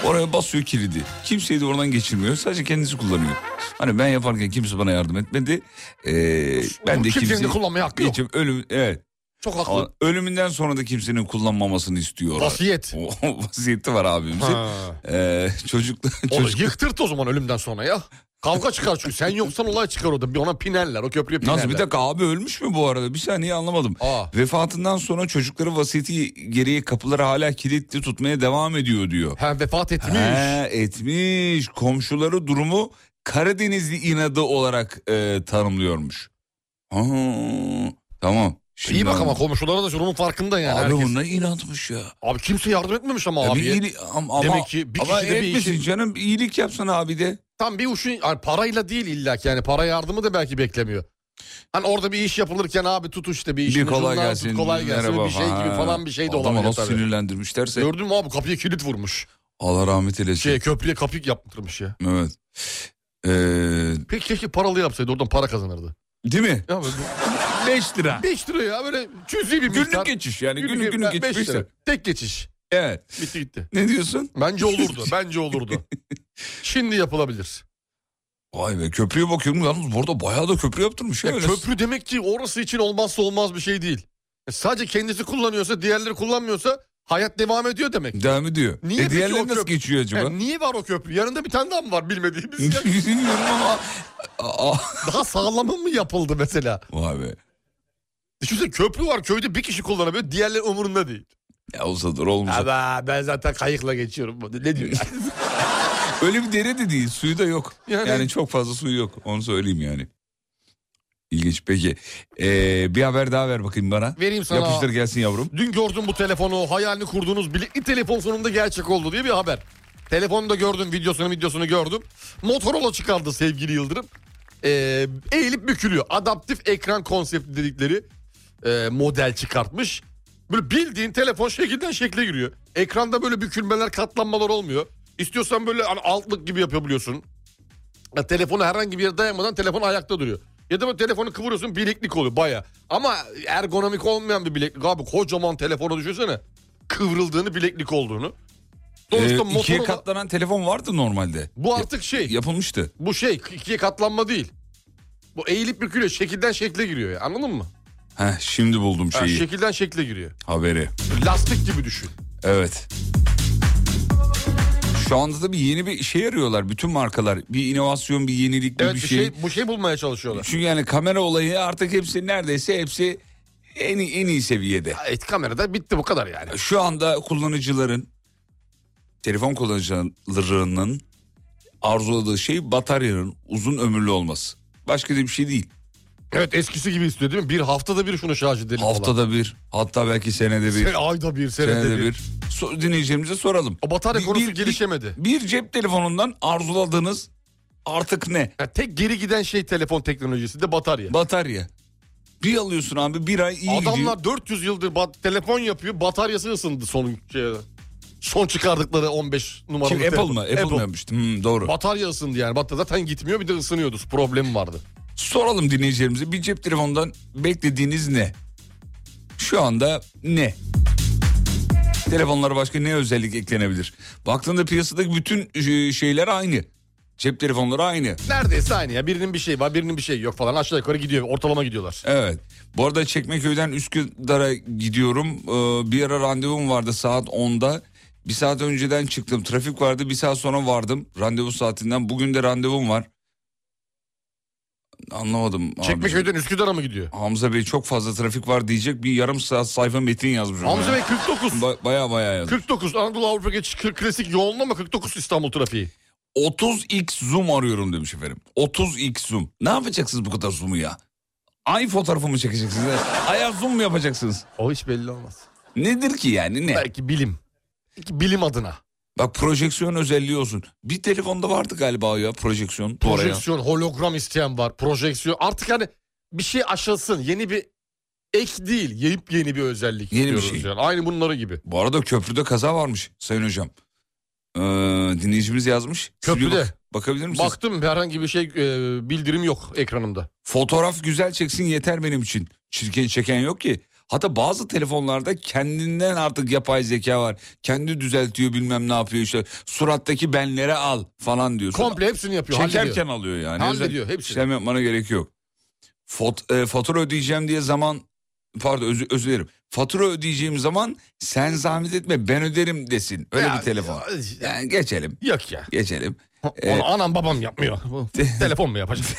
Speaker 4: Oraya basıyor kilidi. Kimseyi de oradan geçirmiyor. Sadece kendisi kullanıyor. Hani ben yaparken kimse bana yardım etmedi. Ee, ben de
Speaker 5: Kimsenin de
Speaker 4: kimseyi...
Speaker 5: kullanmaya hakkı yok.
Speaker 4: Geçim, ölüm, evet.
Speaker 5: Çok haklı.
Speaker 4: Ama ölümünden sonra da kimsenin kullanmamasını istiyor.
Speaker 5: Vasiyet.
Speaker 4: O, vasiyeti var abimizin.
Speaker 5: Ha.
Speaker 4: Ee, çocukla,
Speaker 5: Onu
Speaker 4: çocuk,
Speaker 5: yıktırt o zaman ölümden sonra ya. Kavga çıkar çünkü. Sen yoksan olay çıkar orada. Bir ona pinerler. O köprüye pinerler.
Speaker 4: nasıl bir dakika abi ölmüş mü bu arada? Bir saniye anlamadım.
Speaker 5: Aa.
Speaker 4: Vefatından sonra çocukları vasiyeti gereği kapıları hala kilitli tutmaya devam ediyor diyor.
Speaker 5: Ha, vefat etmiş.
Speaker 4: He, etmiş. Komşuları durumu Karadenizli inadı olarak e, tanımlıyormuş. Ha, tamam. Şimdi
Speaker 5: İyi bak ama
Speaker 4: anladım.
Speaker 5: komşulara da durumun farkında yani.
Speaker 4: Abi
Speaker 5: herkes.
Speaker 4: bunlar inatmış ya.
Speaker 5: Abi kimse yardım etmemiş ama
Speaker 4: Ya
Speaker 5: abi.
Speaker 4: bir iyili- ama, ama-
Speaker 5: Demek ki bir
Speaker 4: ama
Speaker 5: kişi de bir
Speaker 4: etmesin
Speaker 5: işin-
Speaker 4: canım iyilik yapsana abi de.
Speaker 5: Tam bir uşun yani parayla değil illa ki yani para yardımı da belki beklemiyor. Hani orada bir iş yapılırken abi tut işte bir işin
Speaker 4: Bir kolay
Speaker 5: ucundan
Speaker 4: gelsin.
Speaker 5: Tut, kolay gelsin
Speaker 4: merhaba
Speaker 5: bir şey gibi falan bir şey de
Speaker 4: Adama
Speaker 5: olabilir
Speaker 4: nasıl
Speaker 5: tabii.
Speaker 4: sinirlendirmişlerse.
Speaker 5: Gördün mü abi kapıya kilit vurmuş.
Speaker 4: Allah rahmet eylesin.
Speaker 5: Şey köprüye kapık yaptırmış ya.
Speaker 4: Evet. Ee,
Speaker 5: Peki keşke paralı yapsaydı oradan para kazanırdı.
Speaker 4: değil mi?
Speaker 5: Ya böyle
Speaker 4: 5 lira.
Speaker 5: 5 lira ya böyle cüzi bir miktar.
Speaker 4: Günlük geçiş yani günlük günlük
Speaker 5: beş lira.
Speaker 4: geçmişse.
Speaker 5: Tek geçiş.
Speaker 4: Evet.
Speaker 5: Bitti gitti.
Speaker 4: Ne diyorsun?
Speaker 5: Bence olurdu. bence olurdu. Şimdi yapılabilir.
Speaker 4: Vay be köprüye bakıyorum yalnız burada bayağı da köprü yaptırmış. Ya,
Speaker 5: Ya
Speaker 4: öyle.
Speaker 5: köprü demek ki orası için olmazsa olmaz bir şey değil. E Sadece kendisi kullanıyorsa diğerleri kullanmıyorsa hayat devam ediyor demek.
Speaker 4: Devam ediyor.
Speaker 5: Niye
Speaker 4: e
Speaker 5: peki
Speaker 4: diğerleri
Speaker 5: o
Speaker 4: nasıl
Speaker 5: köprü-
Speaker 4: geçiyor acaba?
Speaker 5: Yani niye var o köprü? Yanında bir tane daha mı var bilmediğimiz? Ya
Speaker 4: Bilmiyorum ama. Aa,
Speaker 5: daha sağlamı mı yapıldı mesela? E,
Speaker 4: Vay be.
Speaker 5: Düşünsene köprü var köyde bir kişi kullanabiliyor diğerleri umurunda değil.
Speaker 4: Ya olsa dur olmasa.
Speaker 5: Ama ben zaten kayıkla geçiyorum. Ne diyor?
Speaker 4: Öyle bir dere de değil suyu da yok.
Speaker 5: Yani-
Speaker 4: Yani, çok fazla suyu yok onu söyleyeyim yani. İlginç peki. Ee, bir haber daha ver bakayım bana.
Speaker 5: Vereyim sana.
Speaker 4: Yapıştır gelsin yavrum.
Speaker 5: Dün gördüm bu telefonu hayalini kurduğunuz bilekli telefon sonunda gerçek oldu diye bir haber. Telefonu da gördüm videosunu videosunu gördüm. Motorola çıkardı sevgili Yıldırım. Ee, eğilip bükülüyor. Adaptif ekran konsepti dedikleri e, model çıkartmış. Böyle bildiğin telefon şekilden şekle giriyor. Ekranda böyle bükülmeler katlanmalar olmuyor. İstiyorsan böyle hani altlık gibi yapabiliyorsun. Ya telefonu herhangi bir yere dayanmadan telefon ayakta duruyor. Ya da böyle telefonu kıvırıyorsun bileklik oluyor baya. Ama ergonomik olmayan bir bileklik abi kocaman telefona düşünsene. Kıvrıldığını bileklik olduğunu.
Speaker 4: Ee,
Speaker 5: Sonuçta
Speaker 4: ikiye
Speaker 5: Motorola-
Speaker 4: katlanan telefon vardı normalde.
Speaker 5: bu artık şey
Speaker 4: Yapılmıştı.
Speaker 5: bu şey ikiye katlanma değil. Bu eğilip bükülüyor şekilden şekle giriyor ya anladın mı?
Speaker 4: Heh, şimdi buldum
Speaker 5: Yani
Speaker 4: şeyi
Speaker 5: şekilden şekle giriyor.
Speaker 4: haberi.
Speaker 5: Lastik gibi düşün.
Speaker 4: Evet. Şu anda da bir yeni bir şey arıyorlar bütün markalar. Bir inovasyon, bir yenilik, bir,
Speaker 5: Evet
Speaker 4: bir
Speaker 5: bir
Speaker 4: şey.
Speaker 5: şey bu şey bulmaya çalışıyorlar.
Speaker 4: Çünkü yani kamera olayı artık hepsi neredeyse hepsi en iyi, en iyi seviyede.
Speaker 5: Evet kamerada bitti bu kadar yani.
Speaker 4: şu anda kullanıcıların telefon kullanıcılarının arzuladığı şey bataryanın uzun ömürlü olması. Başka da bir şey değil.
Speaker 5: Evet eskisi gibi istiyor değil mi? Bir haftada bir şunu şarj edelim falan.
Speaker 4: Haftada bir, hatta belki senede bir,
Speaker 5: Ayda bir, senede,
Speaker 4: senede
Speaker 5: bir.
Speaker 4: bir. So- dinleyicilerimize soralım.
Speaker 5: O batarya
Speaker 4: Bir-
Speaker 5: konusu
Speaker 4: bir-
Speaker 5: gelişemedi.
Speaker 4: Bir, bir cep telefonundan arzuladığınız artık ne?
Speaker 5: Ya tek geri giden şey telefon teknolojisi de batarya.
Speaker 4: Batarya. Bir alıyorsun abi bir ay iyi gidiyor.
Speaker 5: Adamlar 400 yıldır bat- telefon yapıyor. Bataryası ısındı son şey- son çıkardıkları 15 numaralı
Speaker 4: Kim Apple
Speaker 5: telefon.
Speaker 4: mı? Apple, mı yapmıştı? Hmm, doğru.
Speaker 5: Batarya ısındı yani. Batarya zaten gitmiyor bir de ısınıyordu. Problemi vardı.
Speaker 4: Soralım dinleyicilerimize bir cep telefonundan beklediğiniz ne? Şu anda ne? Telefonlara başka ne özellik eklenebilir? Baktığında piyasadaki bütün e, şeyler aynı. Cep telefonları aynı.
Speaker 5: Neredeyse aynı ya. Birinin bir şeyi var birinin bir şeyi yok falan. Aşağı yukarı gidiyor. Ortalama gidiyorlar.
Speaker 4: Evet. Bu arada Çekmeköy'den Üsküdar'a gidiyorum. Ee, bir ara randevum vardı saat 10'da. Bir saat önceden çıktım. Trafik vardı. Bir saat sonra vardım. Randevu saatinden. Bugün de randevum var. Anlamadım. abi.
Speaker 5: Çekmeköy'den Üsküdar'a mı gidiyor?
Speaker 4: Hamza Bey çok fazla trafik var diyecek bir yarım saat sayfa metin yazmış. ona ya.
Speaker 5: Hamza Bey 49.
Speaker 4: Ba- baya baya yaz.
Speaker 5: 49 Anadolu Avrupa geçiş kır- klasik yoğunlu ama 49 İstanbul trafiği.
Speaker 4: 30x zoom arıyorum demiş efendim. 30x zoom. Ne yapacaksınız bu kadar zoom'u ya? Ay fotoğrafımı çekeceksiniz? Aya zoom mu yapacaksınız?
Speaker 5: O hiç belli olmaz.
Speaker 4: Nedir ki yani ne?
Speaker 5: Belki bilim. Belki bilim adına.
Speaker 4: Bak projeksiyon özelliği olsun. Bir telefonda vardı galiba ya projeksiyon. Oraya.
Speaker 5: Projeksiyon, hologram isteyen var. Projeksiyon. Artık hani bir şey aşılsın. Yeni bir ek değil. Yayıp yeni bir özellik
Speaker 4: Yeni bir
Speaker 5: diyoruz
Speaker 4: şey.
Speaker 5: yani. Aynı bunları gibi.
Speaker 4: Bu arada köprüde kaza varmış Sayın Hocam. Ee, dinleyicimiz yazmış. Siz bir
Speaker 5: Köprüde.
Speaker 4: bak- bakabilir misiniz?
Speaker 5: Baktım herhangi bir şey e, bildirim yok ekranımda.
Speaker 4: Fotoğraf güzel çeksin yeter benim için. Çirkin çeken yok ki. Hatta bazı telefonlarda kendinden artık yapay zeka var. Kendi düzeltiyor bilmem ne yapıyor işte. Surattaki benlere al falan diyor.
Speaker 5: Komple hepsini yapıyor. hallediyor.
Speaker 4: Çekerken alıyor yani.
Speaker 5: Hallediyor
Speaker 4: Özel
Speaker 5: hepsini.
Speaker 4: işlem yapmana gerek yok. Fot, e, fatura ödeyeceğim diye zaman pardon özür, özür dilerim. Fatura ödeyeceğim zaman sen zahmet etme ben öderim desin. Öyle
Speaker 5: Ya,
Speaker 4: bir telefon.
Speaker 5: ya,
Speaker 4: Yani geçelim.
Speaker 5: Yok ya.
Speaker 4: Geçelim.
Speaker 5: Onu anam babam yapmıyor. Telefon mu yapacak?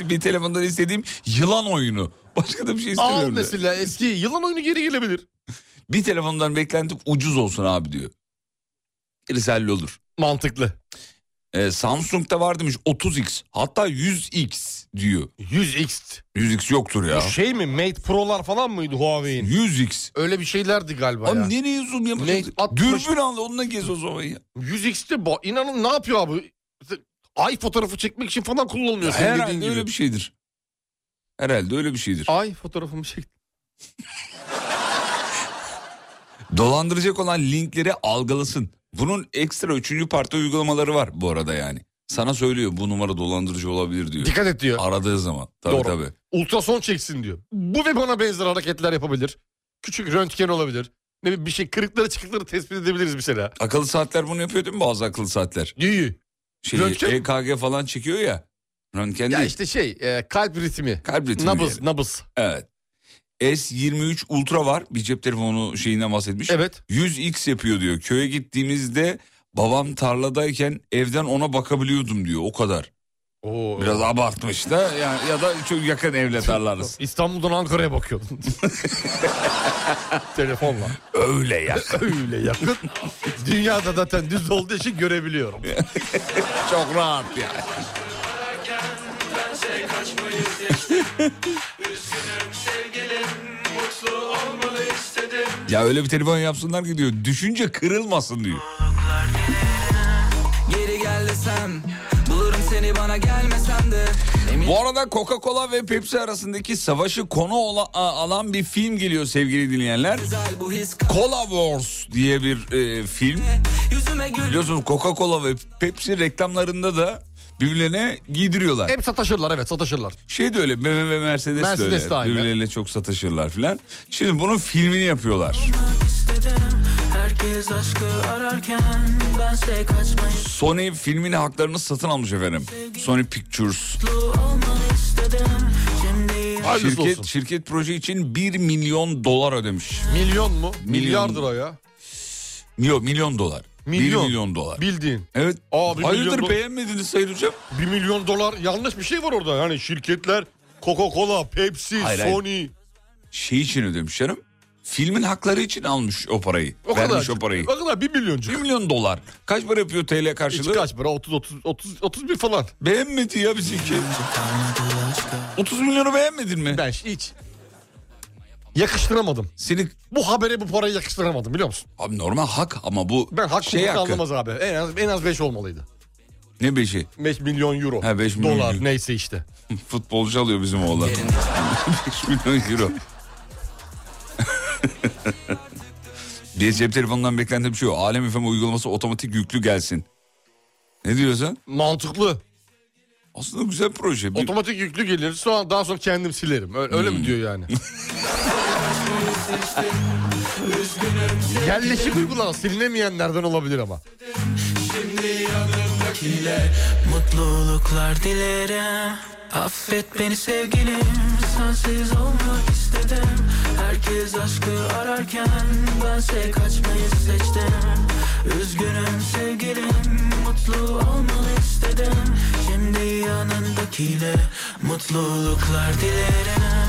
Speaker 4: bir telefondan istediğim yılan oyunu. Başka da bir şey
Speaker 5: Al
Speaker 4: istemiyorum. da.
Speaker 5: mesela eski yılan oyunu geri gelebilir.
Speaker 4: Bir telefondan beklentim ucuz olsun abi diyor. Gerisi hallolur.
Speaker 5: Mantıklı.
Speaker 4: Ee, Samsung'da var demiş 30x hatta 100x diyor.
Speaker 5: 100X.
Speaker 4: 100x yoktur ya.
Speaker 5: Bu şey mi? Mate Pro'lar falan mıydı Huawei'in?
Speaker 4: 100x.
Speaker 5: Öyle bir şeylerdi galiba ya.
Speaker 4: Abi nereye zoom yapacaksın?
Speaker 5: Ne? At-
Speaker 4: Dürbün al onunla gez o zaman ya.
Speaker 5: 100X'te ba- inanın ne yapıyor abi? Ay fotoğrafı çekmek için falan kullanılıyor senin dediğin
Speaker 4: Herhalde
Speaker 5: gibi.
Speaker 4: öyle bir şeydir. Herhalde öyle bir şey. şeydir.
Speaker 5: Ay fotoğrafımı çektim.
Speaker 4: Dolandıracak olan linkleri algılasın. Bunun ekstra üçüncü parti uygulamaları var bu arada yani. Sana söylüyor bu numara dolandırıcı olabilir diyor.
Speaker 5: Dikkat et diyor.
Speaker 4: Aradığı zaman. Tabii
Speaker 5: Doğru.
Speaker 4: tabii.
Speaker 5: Ultrason çeksin diyor. Bu ve bana benzer hareketler yapabilir. Küçük röntgen olabilir. Ne bileyim bir şey kırıkları çıkıkları tespit edebiliriz mesela.
Speaker 4: Akıllı saatler bunu yapıyor değil mi bazı akıllı saatler?
Speaker 5: İyi.
Speaker 4: Şey,
Speaker 5: Röntgen mi?
Speaker 4: EKG falan çekiyor ya. Röntgen
Speaker 5: Ya
Speaker 4: değil.
Speaker 5: işte şey e, kalp ritmi.
Speaker 4: Kalp ritmi.
Speaker 5: Nabız
Speaker 4: diyelim.
Speaker 5: nabız.
Speaker 4: Evet. S23 Ultra var. Bir cep telefonu şeyinden bahsetmiş.
Speaker 5: Evet.
Speaker 4: 100x yapıyor diyor. Köye gittiğimizde babam tarladayken evden ona bakabiliyordum diyor. O kadar.
Speaker 5: Oo.
Speaker 4: Biraz abartmış da yani ya da çok yakın evle tarlarız.
Speaker 5: İstanbul'dan Ankara'ya bakıyordun. Telefonla.
Speaker 4: Öyle ya.
Speaker 5: Öyle yakın. Dünyada zaten düz olduğu için görebiliyorum.
Speaker 4: çok rahat ya. Ya öyle bir telefon yapsınlar ki diyor. Düşünce kırılmasın diyor.
Speaker 2: Geri gel desem Bulurum seni bana gelmesem de Emin
Speaker 4: Bu arada Coca-Cola ve Pepsi arasındaki savaşı konu ola- a- alan bir film geliyor sevgili dinleyenler.
Speaker 2: güzel bu his
Speaker 4: Cola Wars diye bir e, film.
Speaker 2: Yüzüme gül
Speaker 4: Biliyorsunuz Coca-Cola ve Pepsi reklamlarında da birbirlerine giydiriyorlar.
Speaker 5: Hep sataşırlar evet sataşırlar.
Speaker 4: Şey de öyle BMW ve Mercedes,
Speaker 5: Mercedes de
Speaker 4: de
Speaker 5: aynı.
Speaker 4: öyle. Birbirleriyle çok sataşırlar filan. Şimdi bunun filmini yapıyorlar.
Speaker 2: istedim Herkes aşkı ararken Bense kaçmayı
Speaker 4: Sony filmin haklarını satın almış efendim. Sony Pictures.
Speaker 2: olmalı istedim Şimdi
Speaker 5: Hayırlısı
Speaker 4: Şirket,
Speaker 5: olsun.
Speaker 4: şirket proje için 1 milyon dolar ödemiş.
Speaker 5: Milyon mu?
Speaker 4: Milyon.
Speaker 5: Milyar lira ya.
Speaker 4: Milyon, milyon dolar.
Speaker 5: Milyon.
Speaker 4: 1 milyon dolar.
Speaker 5: Bildiğin.
Speaker 4: Evet.
Speaker 5: Aa, bir
Speaker 4: Hayırdır
Speaker 5: milyon do-
Speaker 4: beğenmediniz Sayın Hocam?
Speaker 5: 1 milyon dolar yanlış bir şey var orada. Yani şirketler Coca-Cola, Pepsi,
Speaker 4: Hayır, hayır.
Speaker 5: Sony.
Speaker 4: Şey için ödemiş canım. Filmin hakları için almış o parayı.
Speaker 5: O kadar.
Speaker 4: Vermiş o parayı.
Speaker 5: O kadar 1 milyoncuk.
Speaker 4: 1 milyon dolar. Kaç para yapıyor TL
Speaker 5: İçi
Speaker 4: karşılığı?
Speaker 5: kaç para? 30 30 30 31 falan.
Speaker 4: Beğenmedi ya bizimki. 30 milyonu beğenmedin mi?
Speaker 5: Ben hiç yakıştıramadım.
Speaker 4: Seni
Speaker 5: Bu habere bu parayı yakıştıramadım biliyor musun?
Speaker 4: abi normal hak ama bu
Speaker 5: Ben hak
Speaker 4: şey hakkı.
Speaker 5: anlamaz abi. E- En az en az 5 olmalıydı.
Speaker 4: Ne beşi?
Speaker 5: 5 milyon euro.
Speaker 4: Ha, beş milyon
Speaker 5: dolar
Speaker 4: euro.
Speaker 5: neyse işte.
Speaker 4: Futbolcu alıyor bizim oğlan. 5 milyon euro. bir cep telefonundan beklentim şu. Alem FM uygulaması otomatik yüklü gelsin. Ne diyorsun?
Speaker 5: Mantıklı.
Speaker 4: Aslında güzel proje. Bir- Hmm.
Speaker 5: Otomatik yüklü gelir. Sonra daha sonra kendim silerim. Öyle, öyle mi diyor yani? Yerleşik uygulanan silinemeyenlerden olabilir ama.
Speaker 2: Mutluluklar dilerim Affet beni sevgilim Sensiz olmak istedim Herkes aşkı ararken Bense kaçmayı seçtim Üzgünüm sevgilim Mutlu olmalı istedim Şimdi yanındakiyle Mutluluklar dilerim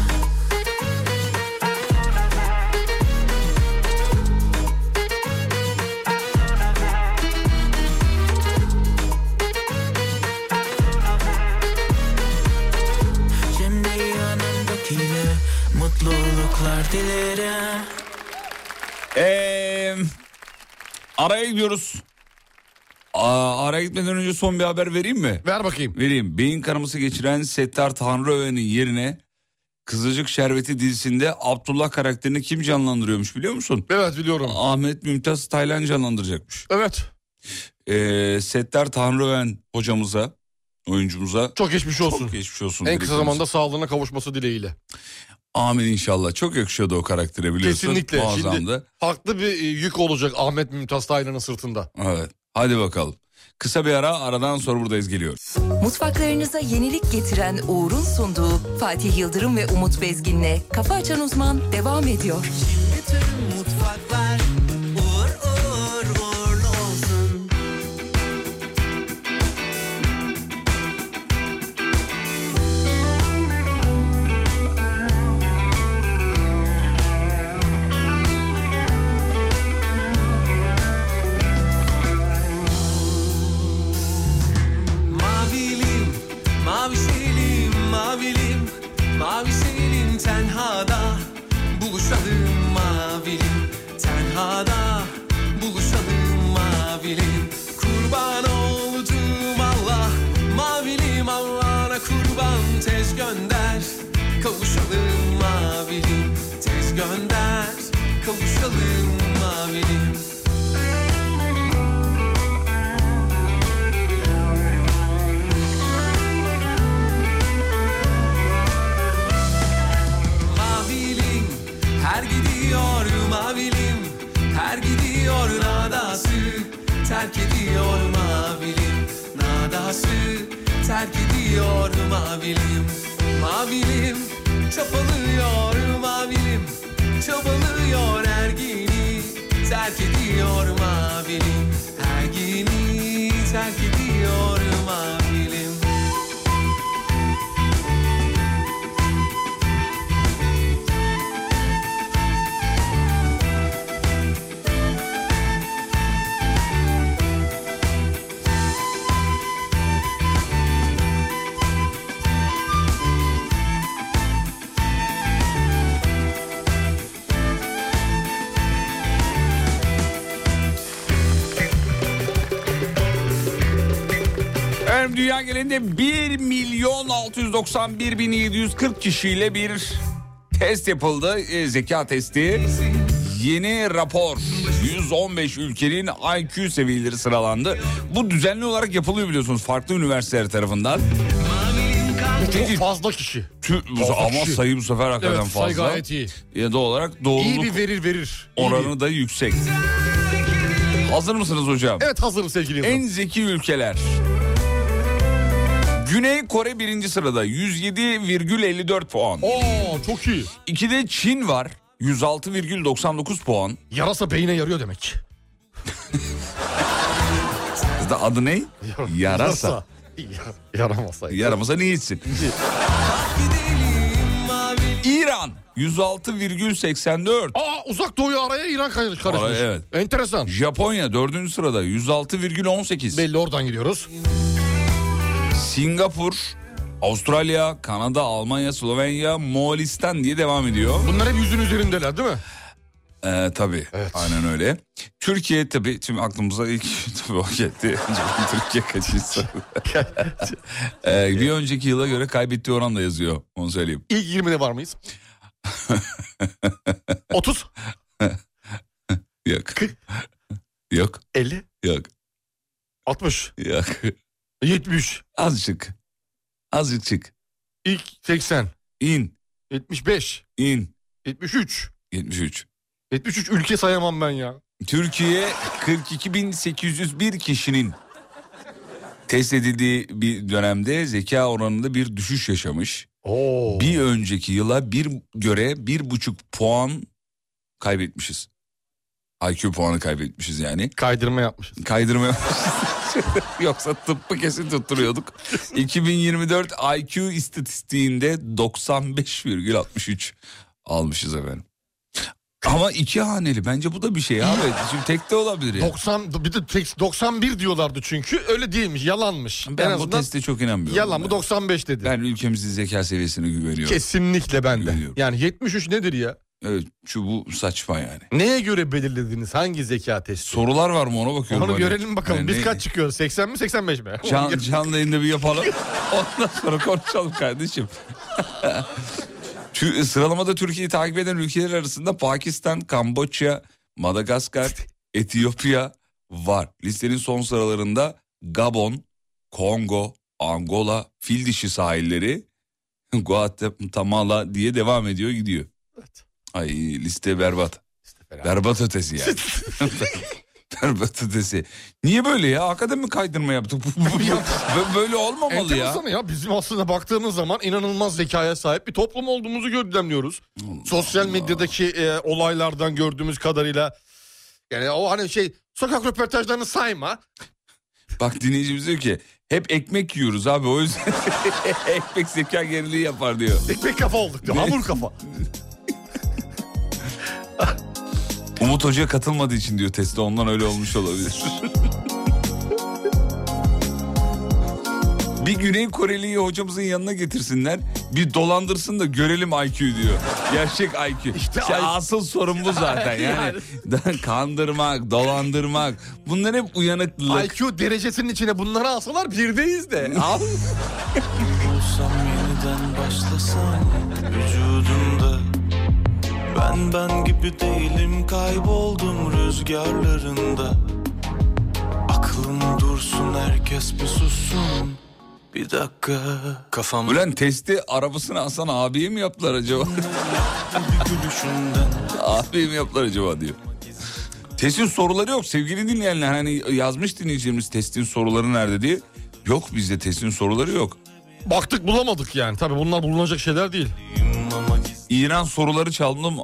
Speaker 2: Şimdi yanındakiyle Mutluluklar dilerim
Speaker 4: Ee, araya gidiyoruz. Aa, araya gitmeden önce son bir haber vereyim mi?
Speaker 5: Ver bakayım.
Speaker 4: Vereyim. Beyin kanaması geçiren Settar Tanrıöven'in yerine Kızılcık Şerbeti dizisinde Abdullah karakterini kim canlandırıyormuş biliyor musun?
Speaker 5: Evet biliyorum.
Speaker 4: Ahmet Mümtaz Taylan canlandıracakmış.
Speaker 5: Evet.
Speaker 4: Ee, Settar Tanrıven hocamıza, oyuncumuza
Speaker 5: Çok geçmiş olsun.
Speaker 4: çok geçmiş olsun.
Speaker 5: en
Speaker 4: dileklerimiz.
Speaker 5: kısa zamanda sağlığına kavuşması dileğiyle.
Speaker 4: Amin inşallah. Çok yakışıyordu o karaktere biliyorsun.
Speaker 5: Kesinlikle.
Speaker 4: Muazzamdı.
Speaker 5: Farklı bir e, yük olacak Ahmet Mümtaz Taylan'ın sırtında.
Speaker 4: Evet. Hadi bakalım. Kısa bir ara aradan sonra buradayız geliyor.
Speaker 1: Mutfaklarınıza yenilik getiren Uğur'un sunduğu Fatih Yıldırım ve Umut Bezgin'le Kafa Açan Uzman devam ediyor.
Speaker 8: Bütün mutfaklar uğur uğur uğurlu olsun. Mavilim, mavi selim, mavilim, mavi selim tenhada buluşalım mavilim, tenhada buluşalım mavilim. Kurban oldum Allah, mavilim Allah'ına kurban tez gönder, kavuşalım mavilim, tez gönder, kavuşalım mavilim. Mavilim her gidiyor mavilim Her gidiyor nadası terk ediyor mavilim Nadası terk ediyor mavilim Mavilim çapalıyor mavilim Çabalıyor ergini terk ediyor mavilim Ergini terk ediyor mavilim
Speaker 4: Efendim dünya genelinde 1 milyon 691 bin 740 kişiyle bir test yapıldı. E, zeka testi. Yeni rapor. 115 ülkenin IQ seviyeleri sıralandı. Bu düzenli olarak yapılıyor biliyorsunuz farklı üniversiteler tarafından.
Speaker 5: Çok
Speaker 4: Peki,
Speaker 5: fazla kişi.
Speaker 4: tü-
Speaker 5: Fazla
Speaker 4: ama
Speaker 5: kişi.
Speaker 4: sayı bu sefer hakikaten
Speaker 5: Evet sayı
Speaker 4: fazla.
Speaker 5: gayet iyi.
Speaker 4: Ya da olarak doğruluk
Speaker 5: İyi bir verir verir. İyi bir-
Speaker 4: oranı da yüksek. Hazır mısınız hocam?
Speaker 5: Evet hazırım sevgili yıldırım.
Speaker 4: En zeki ülkeler. Güney Kore birinci sırada 107,54 puan.
Speaker 5: Oo çok iyi.
Speaker 4: İkide Çin var 106,99 puan.
Speaker 5: Yarasa beyine yarıyor demek.
Speaker 4: Ya da Adı ne? Yarasa.
Speaker 5: Yarasa. Yaramasaydı.
Speaker 4: Yaramasa niye içsin? İran 106,84.
Speaker 5: Aa uzak doğuyu araya İran kay- karışmış.
Speaker 4: Araya, evet.
Speaker 5: Enteresan.
Speaker 4: Japonya dördüncü sırada 106,18.
Speaker 5: Belli oradan gidiyoruz.
Speaker 4: Singapur, Avustralya, Kanada, Almanya, Slovenya, Moğolistan diye devam ediyor.
Speaker 5: Bunlar hep yüzün üzerindeler değil mi?
Speaker 4: Ee, tabii. Aynen öyle. Türkiye tabii şimdi aklımıza ilk tabii o geldi. Türkiye kaçıncı sırada? ee, bir önceki yıla göre kaybettiği oran da yazıyor. Onu söyleyeyim.
Speaker 5: İlk 20'de var mıyız? 30,
Speaker 4: Yok. yok.
Speaker 5: 50,
Speaker 4: Yok.
Speaker 5: 60,
Speaker 4: Yok.
Speaker 5: E, 70,
Speaker 4: Azıcık. Azıcık çık.
Speaker 5: ilk 80,
Speaker 4: İn.
Speaker 5: 75,
Speaker 4: İn.
Speaker 5: 73.
Speaker 4: 73.
Speaker 5: 73 ülke sayamam ben ya.
Speaker 4: Türkiye 42.801 kişinin test edildiği bir dönemde zeka oranında bir düşüş yaşamış.
Speaker 5: Oo.
Speaker 4: bir önceki yıla bir göre bir buçuk puan kaybetmişiz. IQ puanı kaybetmişiz yani.
Speaker 5: kaydırma yapmışız.
Speaker 4: Kaydırma yapmışız. Yoksa tıbbı kesin tutturuyorduk. 2024 IQ istatistiğinde 95,63 almışız efendim. Ama iki haneli bence bu da bir şey abi. Şimdi tek de olabilir ya.
Speaker 5: 90 bir de tek- 91 diyorlardı çünkü öyle değilmiş yalanmış. en
Speaker 4: Ben bu
Speaker 5: azından
Speaker 4: teste çok inanmıyorum.
Speaker 5: yalan
Speaker 4: ya.
Speaker 5: bu 95 dedi.
Speaker 4: Ben ülkemizin zeka seviyesine güveniyorum.
Speaker 5: Kesinlikle ben de.
Speaker 4: Güveniyorum.
Speaker 5: Yani 73 nedir ya?
Speaker 4: Evet, şu bu saçma yani.
Speaker 5: Neye göre belirlediniz hangi zeka testi?
Speaker 4: Sorular var mı ona bakıyorum.
Speaker 5: Onu
Speaker 4: hani.
Speaker 5: görelim bakalım.
Speaker 4: Yani
Speaker 5: Biz
Speaker 4: ne-
Speaker 5: kaç çıkıyoruz? 80 mi 85 mi?
Speaker 4: Can, canlı yayında bir yapalım. Ondan sonra konuşalım kardeşim. Tü- sıralamada Türkiye'yi takip eden ülkeler arasında Pakistan, Kamboçya, Madagaskar, Etiyopya var. Listenin son sıralarında Gabon, Kongo, Angola, Fil dişi sahilleri, Guatemala diye devam ediyor gidiyor. Ay liste berbat. Berbat ötesi yani. berbat ötesi. Niye böyle ya? Hakikaten mi kaydırma yaptık? Bö- böyle olmamalı ya.
Speaker 5: Enteresan ya bizim aslında baktığımız zaman inanılmaz zekaya sahip bir toplum olduğumuzu gözlemliyoruz. Sosyal medyadaki e, olaylardan gördüğümüz kadarıyla yani o hani şey sokak röportajlarını sayma.
Speaker 4: Bak dinleyicimiz diyor ki hep ekmek yiyoruz abi o yüzden ekmek zeka geriliği yapar diyor.
Speaker 5: Ekmek kafa olduk diyor.
Speaker 4: Ne?
Speaker 5: Hamur kafa.
Speaker 4: Umut Hoca katılmadığı için diyor testte ondan öyle olmuş olabilir. bir Güney Koreli'yi hocamızın yanına getirsinler. Bir dolandırsın da görelim IQ diyor. Gerçek IQ.
Speaker 5: İşte
Speaker 4: Şey,
Speaker 5: I-
Speaker 4: asıl sorun bu zaten yani. Kandırmak, dolandırmak. Bunlar hep uyanıklık.
Speaker 5: IQ derecesinin içine bunları alsalar birdeyiz de. Al.
Speaker 2: Olsam yeniden başlasam vücudumda Ben ben gibi değilim kayboldum rüzgarlarında Aklım dursun herkes bir sussun bir dakika Kafam
Speaker 4: Ulan testi arabasını Hasan abiye mi yaptılar acaba?
Speaker 2: bir gülüşünden
Speaker 4: Abiye mi yaptılar acaba diyor. Testin soruları yok sevgili dinleyenler. Hani yazmış dinleyicimiz testin soruları nerede diye. Yok bizde testin soruları yok.
Speaker 5: Baktık bulamadık yani. Tabii bunlar bulunacak şeyler değil.
Speaker 2: ama gizli
Speaker 4: İran soruları çaldım mı?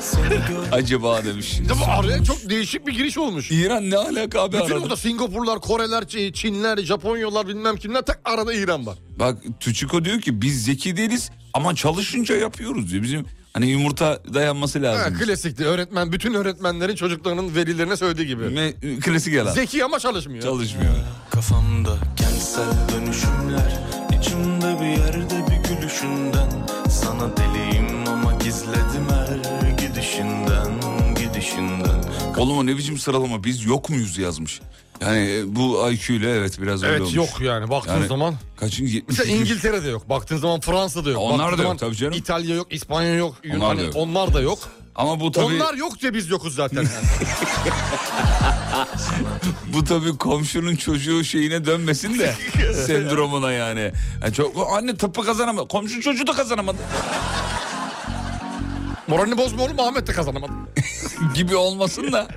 Speaker 2: seni gör
Speaker 4: Acaba demiş.
Speaker 5: Ya bu araya çok değişik bir giriş olmuş.
Speaker 4: İran ne alaka abi
Speaker 5: Bütün
Speaker 4: arada?
Speaker 5: orada Singapurlar, Koreler, Ç- Çinler, Japonyalar bilmem kimler tak arada İran var.
Speaker 4: Bak Tüçiko diyor ki biz zeki değiliz ama çalışınca yapıyoruz diyor. Bizim hani yumurta dayanması
Speaker 5: Ha,
Speaker 4: lazım.
Speaker 5: klasikti öğretmen bütün öğretmenlerin çocuklarının velilerine söylediği gibi.
Speaker 4: Me- klasik yalan.
Speaker 5: Zeki ama çalışmıyor.
Speaker 4: Çalışmıyor.
Speaker 2: Kafamda kentsel dönüşümler içimde bir yerde bir gülüşünden Sana deliyim ama gizledim her gidişinden Gidişinden
Speaker 4: Oğlum o ne biçim sıralama biz yok muyuz yazmış. Yani e, bu IQ ile evet biraz öyle
Speaker 5: evet
Speaker 4: olmuş.
Speaker 5: yok yani baktığın
Speaker 4: Yani-
Speaker 5: zaman.
Speaker 4: Kaçıncı?
Speaker 5: Mesela İngiltere'de yok. Baktığın zaman Fransa'da yok.
Speaker 4: Onlar da
Speaker 5: Baktığın
Speaker 4: yok
Speaker 5: zaman
Speaker 4: tabii canım.
Speaker 5: İtalya yok, İspanya yok, Yunan
Speaker 4: da yok.
Speaker 5: onlar da yok.
Speaker 4: Ama bu tabii
Speaker 5: Onlar yok diye biz yokuz zaten. yani.
Speaker 4: bu tabii komşunun çocuğu şeyine dönmesin de sendromuna yani. yani çok anne tıpı kazanamadı. Komşu çocuğu da kazanamadı
Speaker 5: Moralini bozma oğlum Ahmet de kazanamadı.
Speaker 4: gibi olmasın da.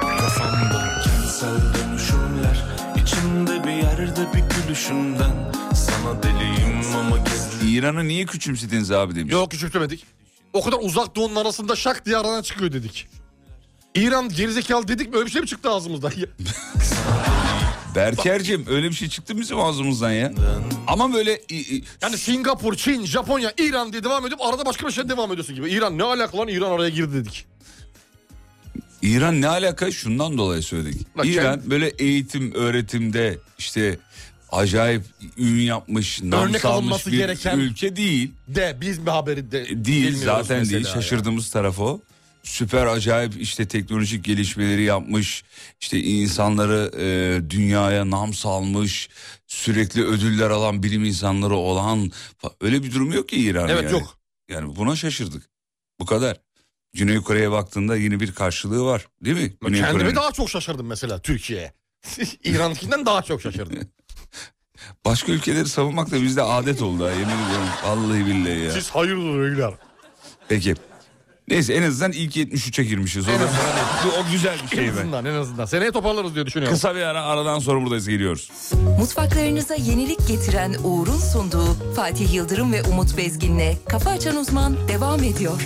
Speaker 2: Kafamda kentsel dönüşümler içimde bir yerde bir gülüşünden Sana deliyim ama gizledim
Speaker 4: İran'ı niye küçümsediniz abi demiş.
Speaker 5: Yok küçültemedik. O kadar uzak doğunun arasında şak diye aradan çıkıyor dedik. İran gerizekalı dedik mi öyle bir şey mi çıktı ağzımızdan? Ya-
Speaker 4: Berker'cim öyle bir şey çıktı mı bizim ağzımızdan ya? Ama böyle i- i-
Speaker 5: Yani Singapur, Çin, Japonya, İran diye devam edip arada başka bir şey devam ediyorsun gibi. İran ne alaka lan İran araya girdi dedik.
Speaker 4: İran ne alaka? Şundan dolayı söyledik.
Speaker 5: Bak
Speaker 4: İran
Speaker 5: kendi-
Speaker 4: böyle eğitim, öğretimde işte acayip ün yapmış, nam
Speaker 5: Örnek
Speaker 4: salmış
Speaker 5: alınması
Speaker 4: bir
Speaker 5: gereken-
Speaker 4: ülke değil. E,
Speaker 5: De biz bir haberi de
Speaker 4: Değil
Speaker 5: bilmiyoruz
Speaker 4: zaten
Speaker 5: mesela
Speaker 4: değil.
Speaker 5: ya.
Speaker 4: Şaşırdığımız taraf o. Süper acayip işte teknolojik gelişmeleri yapmış. işte insanları e, dünyaya nam salmış. Sürekli ödüller alan bilim insanları olan. fa- Öyle bir durum yok ki İran'ın
Speaker 5: Evet
Speaker 4: yani.
Speaker 5: yok.
Speaker 4: Yani buna şaşırdık. Bu kadar. Güney Kore'ye baktığında yeni bir karşılığı var. Değil mi? Güney
Speaker 5: Kendimi
Speaker 4: Kore'nin?
Speaker 5: daha çok şaşırdım mesela Türkiye'ye. İran'dakinden daha çok şaşırdım.
Speaker 4: Başka ülkeleri savunmak da bizde adet oldu. ha, Yemin ediyorum. Vallahi billahi ya.
Speaker 5: Siz hayırdır öyler.
Speaker 4: Peki. Neyse en azından ilk 73'e girmişiz. O, da- o güzel bir
Speaker 5: En
Speaker 4: şey be.
Speaker 5: azından en azından. Seneye toparlarız diye düşünüyorum.
Speaker 4: Kısa bir ara aradan sonra buradayız geliyoruz.
Speaker 1: Mutfaklarınıza yenilik getiren Uğur'un sunduğu Fatih Yıldırım ve Umut Bezgin'le Kafa Açan Uzman devam ediyor.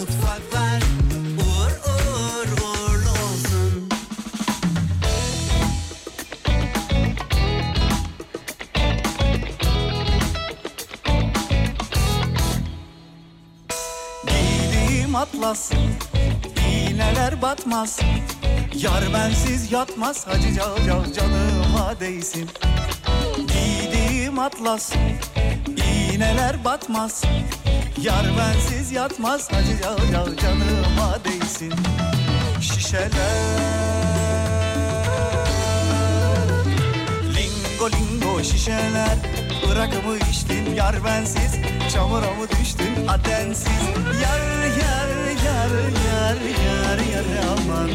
Speaker 9: mutfaklar uğur uğur uğurlu olsun.
Speaker 2: Giydiğim atlas iğneler batmaz Yar bensiz yatmaz hacı cav cav canıma değsin Giydiğim atlas iğneler batmaz Yar bensiz yatmaz hacı cav cav canıma değsin Şişeler Lingo
Speaker 9: lingo şişeler Irak'ımı içtin yar bensiz Çamura mı düştün atensiz Yar yar yar yar yar yar aman